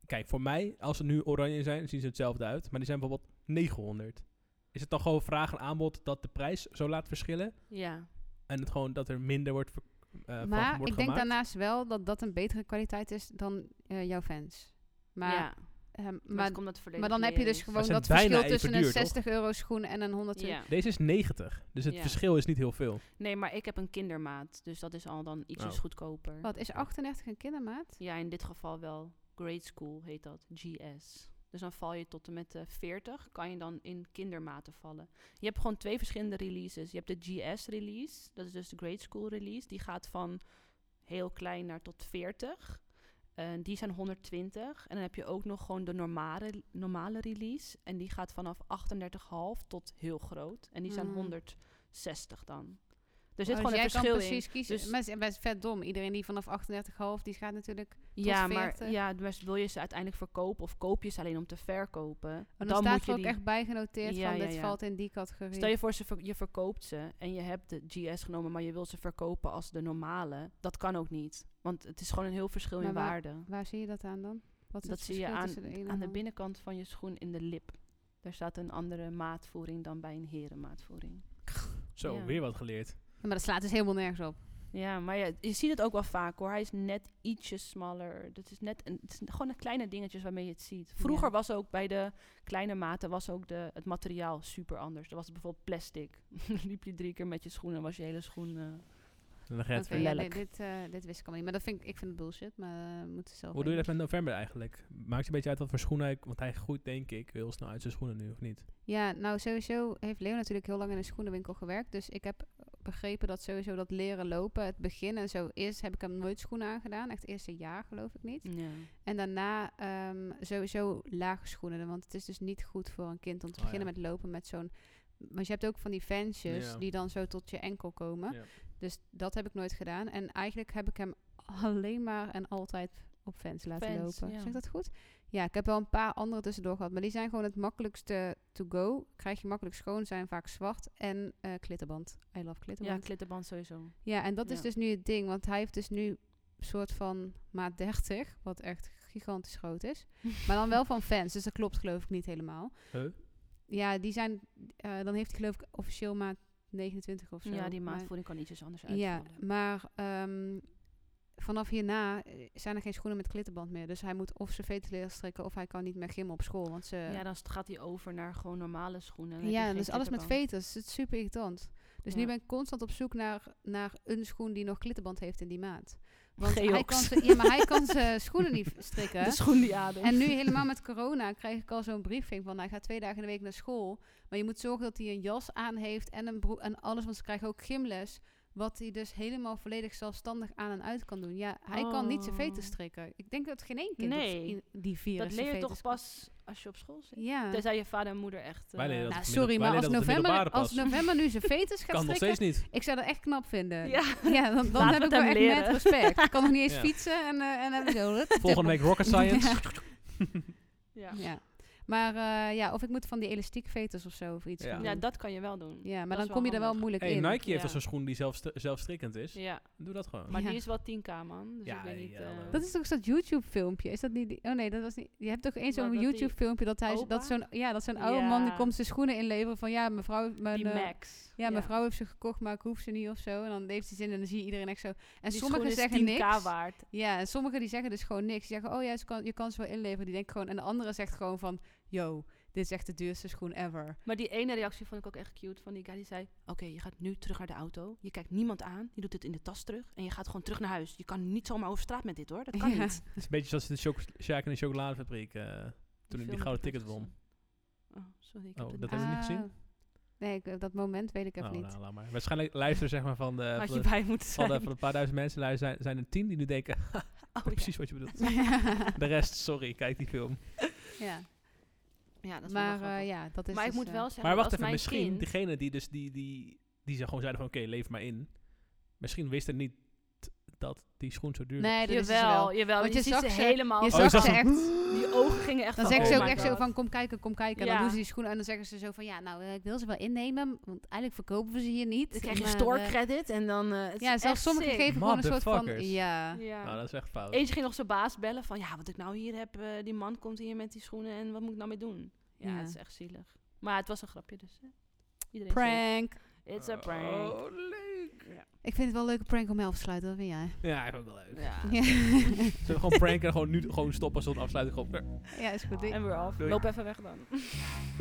Speaker 2: Kijk, voor mij, als ze nu oranje zijn, zien ze hetzelfde uit. Maar die zijn bijvoorbeeld 900. Is het dan gewoon vraag en aanbod dat de prijs zo laat verschillen?
Speaker 4: Ja.
Speaker 2: En het gewoon dat er minder wordt, ver- eh, van
Speaker 3: maar
Speaker 2: wordt
Speaker 3: ik denk
Speaker 2: gemaakt?
Speaker 3: daarnaast wel dat dat een betere kwaliteit is dan eh, jouw fans. Maar,
Speaker 4: ja.
Speaker 3: ehm,
Speaker 4: Maar,
Speaker 3: maar,
Speaker 4: het komt dat
Speaker 3: maar dan heb je dus gewoon
Speaker 2: ze zijn
Speaker 3: dat verschil
Speaker 2: bijna even
Speaker 3: tussen een
Speaker 2: duur, toch?
Speaker 3: 60 euro schoen en een 120.
Speaker 4: Ja.
Speaker 2: Deze is 90. Dus het
Speaker 4: Ja.
Speaker 2: verschil is niet heel veel.
Speaker 4: Nee, maar ik heb een kindermaat, dus dat is al dan ietsjes
Speaker 2: Oh.
Speaker 4: goedkoper.
Speaker 3: Wat is 38 een kindermaat?
Speaker 4: Ja, in dit geval wel. Grade school heet dat, GS. Dus dan val je tot en met eh 40, kan je dan in kindermaten vallen. Je hebt gewoon twee verschillende releases. Je hebt de GS-release, dat is dus de grade school release. Die gaat van heel klein naar tot 40. En die zijn 120. En dan heb je ook nog gewoon de normale, normale release. En die gaat vanaf 38,5 tot heel groot. En die zijn
Speaker 3: Mm.
Speaker 4: 160 dan. Er zit
Speaker 3: Oh, dus
Speaker 4: gewoon een
Speaker 3: jij
Speaker 4: verschil
Speaker 3: kan
Speaker 4: in.
Speaker 3: precies kiezen.
Speaker 4: Dus-
Speaker 3: maar het is best vet dom. Iedereen die vanaf 38,5 die gaat natuurlijk.
Speaker 4: Ja,
Speaker 3: 40.
Speaker 4: maar ja, dus wil je ze uiteindelijk verkopen of koop je ze alleen om te verkopen?
Speaker 3: En Oh, dan, staat
Speaker 4: moet
Speaker 3: er
Speaker 4: je
Speaker 3: ook
Speaker 4: die-
Speaker 3: echt bij genoteerd
Speaker 4: Ja,
Speaker 3: van
Speaker 4: ja,
Speaker 3: dit
Speaker 4: ja.
Speaker 3: valt in die categorie.
Speaker 4: Stel je voor, ze ver- je verkoopt ze en je hebt de GS genomen, maar je wilt ze verkopen als de normale. Dat kan ook niet, want het is gewoon een heel verschil
Speaker 3: Maar
Speaker 4: in
Speaker 3: waar-
Speaker 4: waarde.
Speaker 3: Waar zie je dat aan dan? Wat is
Speaker 4: Dat
Speaker 3: het
Speaker 4: zie je
Speaker 3: verschil
Speaker 4: aan,
Speaker 3: tussen de, ene en
Speaker 4: aan de
Speaker 3: ander?
Speaker 4: binnenkant van je schoen in de lip. Daar staat een andere maatvoering dan bij een herenmaatvoering.
Speaker 2: Zo,
Speaker 4: Ja.
Speaker 2: weer wat geleerd.
Speaker 3: Ja, maar dat slaat dus helemaal nergens op.
Speaker 4: Ja, maar ja, je ziet het ook wel vaak hoor. Hij is net ietsje smaller. Dat is net een, het is gewoon een kleine dingetjes waarmee je het ziet. Vroeger
Speaker 3: Ja.
Speaker 4: was ook bij de kleine maten was ook de, het materiaal super anders. Dan was het bijvoorbeeld plastic. Dan liep je drie keer met je schoenen en was je hele schoen. eh,
Speaker 2: En dan ga je het
Speaker 3: Oké,
Speaker 4: ver-
Speaker 2: verder.
Speaker 3: ja,
Speaker 4: lelijk.
Speaker 3: dit, dit, eh, dit wist ik allemaal niet. Maar dat vind ik, ik vind het bullshit. Maar eh moeten ze zelf.
Speaker 2: Hoe doe je dat
Speaker 3: weten.
Speaker 2: met november eigenlijk? Maakt het een beetje uit wat voor schoenen hij... Want hij groeit denk ik heel snel uit zijn schoenen nu, of niet?
Speaker 3: Ja, nou sowieso heeft Leo natuurlijk heel lang in een schoenenwinkel gewerkt. Dus ik heb begrepen dat sowieso dat leren lopen, het begin en zo. Eerst heb ik hem nooit schoenen aangedaan. Echt het eerste jaar geloof ik niet.
Speaker 4: ja.
Speaker 3: En daarna ehm, sowieso lage schoenen. Want het is dus niet goed voor een kind om te
Speaker 2: Oh,
Speaker 3: beginnen
Speaker 2: ja.
Speaker 3: met lopen met zo'n... Want je hebt ook van die fansjes
Speaker 2: Ja.
Speaker 3: die dan zo tot je enkel komen.
Speaker 2: Ja.
Speaker 3: Dus dat heb ik nooit gedaan. En eigenlijk heb ik hem alleen maar en altijd op fans laten
Speaker 4: Vans,
Speaker 3: lopen.
Speaker 4: ja.
Speaker 3: Zeg ik dat goed? Ja, ik heb wel een paar andere tussendoor gehad. Maar die zijn gewoon het makkelijkste to go. Krijg je makkelijk schoon, zijn vaak zwart. En eh, klittenband. I love
Speaker 4: ja,
Speaker 3: klittenband.
Speaker 4: klittenband sowieso.
Speaker 3: Ja, en dat is
Speaker 4: Ja.
Speaker 3: dus nu het ding. Want hij heeft dus nu soort van maat 30, wat echt gigantisch groot is. maar dan wel van fans, dus dat klopt geloof ik niet helemaal.
Speaker 2: Huh?
Speaker 3: Ja, die zijn, eh, dan heeft hij geloof ik officieel maat 29 of zo.
Speaker 4: ja, die
Speaker 3: maar-
Speaker 4: maatvoering kan ietsjes anders uitvallen.
Speaker 3: Ja, maar ehm, vanaf hierna eh, zijn er geen schoenen met klittenband meer. Dus hij moet of zijn veter leren strikken of hij kan niet meer gimmen op school. Want ze,
Speaker 4: Ja, dan st- gaat hij over naar gewoon normale schoenen. Dan heb je
Speaker 3: ja,
Speaker 4: geen
Speaker 3: dus alles met
Speaker 4: klittenband.
Speaker 3: veters. Het is super irritant. Dus
Speaker 4: Ja.
Speaker 3: nu ben ik constant op zoek naar, naar een schoen die nog klittenband heeft in die maat. Want hij
Speaker 4: Geox.
Speaker 3: kan ze, ja, maar hij kan zijn schoenen niet strikken.
Speaker 4: De schoen die ademt.
Speaker 3: En nu helemaal met corona krijg ik al zo'n briefing van hij gaat twee dagen in de week naar school. Maar je moet zorgen dat hij een jas aan heeft en een broek en alles. Want ze krijgen ook gymles. Wat hij dus helemaal volledig zelfstandig aan en uit kan doen. Ja, hij kan niet zijn
Speaker 4: Oh.
Speaker 3: veters strikken. Ik denk dat geen één kind
Speaker 4: Nee.
Speaker 3: op z'n- die vier
Speaker 4: dat leer je toch pas als je op school zit.
Speaker 3: Ja.
Speaker 4: Tenzij je vader en moeder echt...
Speaker 2: Wij
Speaker 4: eh,
Speaker 2: leren dat
Speaker 3: Nou,
Speaker 2: op de
Speaker 3: sorry,
Speaker 2: middel-
Speaker 3: maar
Speaker 2: wij
Speaker 3: als
Speaker 2: leren dat op de
Speaker 3: november,
Speaker 2: middelbare
Speaker 3: als
Speaker 2: pas.
Speaker 3: november nu zijn veters gaat
Speaker 2: Kan nog
Speaker 3: strikken,
Speaker 2: steeds niet.
Speaker 3: ik zou dat echt knap vinden.
Speaker 4: Ja.
Speaker 3: Ja, dan, dan
Speaker 4: Laat
Speaker 3: heb
Speaker 4: het
Speaker 3: ik wel
Speaker 4: hem
Speaker 3: echt
Speaker 4: leren.
Speaker 3: net respect. Ik kan nog niet eens
Speaker 2: Ja.
Speaker 3: fietsen en, eh en dan zo.
Speaker 2: Volgende week rocket science.
Speaker 4: Ja.
Speaker 3: Ja. Maar eh, ja, of ik moet van die elastiek veters of zo of iets.
Speaker 2: Ja.
Speaker 3: gaan
Speaker 4: Ja,
Speaker 3: doen.
Speaker 4: dat kan je wel doen.
Speaker 3: Ja, maar
Speaker 4: Dat is wel
Speaker 3: dan kom je er wel
Speaker 4: handig.
Speaker 3: moeilijk
Speaker 2: Hey,
Speaker 3: in.
Speaker 2: Nike heeft
Speaker 4: Ja.
Speaker 2: al zo'n schoen die zelfs zelfstrikkend is.
Speaker 4: Ja,
Speaker 2: Doe dat gewoon.
Speaker 4: maar
Speaker 3: Ja.
Speaker 4: die is wel 10k man. Dus
Speaker 2: Ja,
Speaker 4: ik weet niet...
Speaker 2: ja,
Speaker 4: eh,
Speaker 3: Dat is toch eens dat YouTube-filmpje? Is dat niet? die- oh nee, dat was niet. Je hebt toch eens
Speaker 4: Wat, dat
Speaker 3: zo'n
Speaker 4: die
Speaker 3: YouTube-filmpje dat hij,
Speaker 4: opa?
Speaker 3: dat zo'n, ja, dat zo'n oude man die
Speaker 4: Ja.
Speaker 3: komt zijn schoenen inleveren van ja, mevrouw, mijn,
Speaker 4: die
Speaker 3: eh,
Speaker 4: Max.
Speaker 3: ja, mijn vrouw heeft ze gekocht, maar ik hoef ze niet of zo. En dan heeft hij zin en dan zie je iedereen echt zo. En
Speaker 4: Die
Speaker 3: sommigen
Speaker 4: schoen is
Speaker 3: zeggen
Speaker 4: 10k
Speaker 3: niks.
Speaker 4: waard.
Speaker 3: Ja, en sommigen die zeggen dus gewoon niks. Die zeggen, oh ja, ze kan, je kan ze wel inleveren. Die denken gewoon, en de andere zegt gewoon van, yo, dit is echt de duurste schoen ever.
Speaker 4: Maar die ene reactie vond ik ook echt cute van die guy die zei... Oké, je gaat nu terug naar de auto. Je kijkt niemand aan. Je doet dit in de tas terug. En je gaat gewoon terug naar huis. Je kan niet zomaar over straat met dit hoor. Dat kan
Speaker 3: Ja.
Speaker 4: niet.
Speaker 2: Het is een beetje zoals de choc- Sjaak in de chocoladefabriek. eh, toen ik
Speaker 4: film heb
Speaker 2: die
Speaker 4: ik
Speaker 2: gouden
Speaker 4: nooit
Speaker 2: ticket won.
Speaker 4: gezien. Oh, sorry. Ik
Speaker 2: Oh,
Speaker 4: heb het niet.
Speaker 2: dat hebben we niet gezien?
Speaker 3: Ah. Nee, ik, dat moment weet ik even
Speaker 2: Oh,
Speaker 3: niet.
Speaker 2: nou, laat maar. Waarschijnlijk luisteren zeg maar van de,
Speaker 4: Had
Speaker 2: van
Speaker 4: je
Speaker 2: de,
Speaker 4: bij moeten
Speaker 2: van
Speaker 4: zijn.
Speaker 2: de, van de paar duizend mensen luisteren, zijn, zijn er tien die nu denken,
Speaker 4: Oh, ja.
Speaker 2: precies wat je bedoelt. De rest, sorry, kijk die film.
Speaker 3: ja.
Speaker 4: Ja, dat is wel
Speaker 3: Maar
Speaker 4: grappig.
Speaker 3: eh, ja, dat is
Speaker 4: Maar ik
Speaker 3: dus,
Speaker 4: moet
Speaker 3: eh,
Speaker 4: wel zeggen...
Speaker 2: maar wacht
Speaker 4: als
Speaker 2: even,
Speaker 4: mijn
Speaker 2: misschien
Speaker 4: kind-
Speaker 2: diegene die dus die, die, die ze gewoon zeiden van oké, leef maar in. Misschien wisten niet dat die schoen zo duur was.
Speaker 3: Nee, dat is ze
Speaker 4: Jawel,
Speaker 3: wel.
Speaker 4: jawel.
Speaker 3: Want
Speaker 4: je,
Speaker 3: je
Speaker 4: ziet
Speaker 3: zag
Speaker 4: ze
Speaker 3: ze-
Speaker 4: helemaal...
Speaker 3: Je
Speaker 2: Oh, je
Speaker 3: zag
Speaker 2: zag
Speaker 3: ze
Speaker 2: ze-
Speaker 3: echt.
Speaker 4: Die ogen gingen echt
Speaker 3: Dan
Speaker 4: van,
Speaker 3: zeggen ze
Speaker 4: oh
Speaker 3: ook
Speaker 4: my
Speaker 3: echt zo
Speaker 4: God.
Speaker 3: van, kom kijken, kom kijken. En
Speaker 4: Ja.
Speaker 3: dan doen ze die schoenen en dan zeggen ze zo van, ja, nou, eh, ik wil ze wel innemen. Want eigenlijk verkopen we ze hier niet.
Speaker 4: Dan krijg je
Speaker 3: maar, eh,
Speaker 4: store-credit en dan... eh, het is
Speaker 3: Ja, zelfs
Speaker 4: echt
Speaker 3: sommigen
Speaker 4: sick.
Speaker 3: geven gewoon een soort van,
Speaker 2: Motherfuckers.
Speaker 3: ja.
Speaker 4: Ja.
Speaker 2: Nou, dat is echt fout.
Speaker 4: Eentje ging nog zijn baas bellen van... Ja, wat ik nou hier heb, eh, die man komt hier met die schoenen en wat moet ik nou mee doen? Ja,
Speaker 3: Ja.
Speaker 4: het is echt zielig. Maar het was een grapje dus. Hè. Iedereen
Speaker 3: Prank.
Speaker 4: safe. It's a prank.
Speaker 2: Oh, leuk.
Speaker 4: Ja.
Speaker 3: Ik vind het wel een leuke prank om mee af te sluiten, wat vind jij?
Speaker 2: Ja, ik vind het wel leuk.
Speaker 4: Ja.
Speaker 3: Ja,
Speaker 2: Zullen we gewoon pranken en gewoon nu gewoon stoppen zonder afsluiting? Gewoon,
Speaker 3: ja is goed.
Speaker 4: En we're off.
Speaker 2: Doei.
Speaker 4: Loop even weg dan.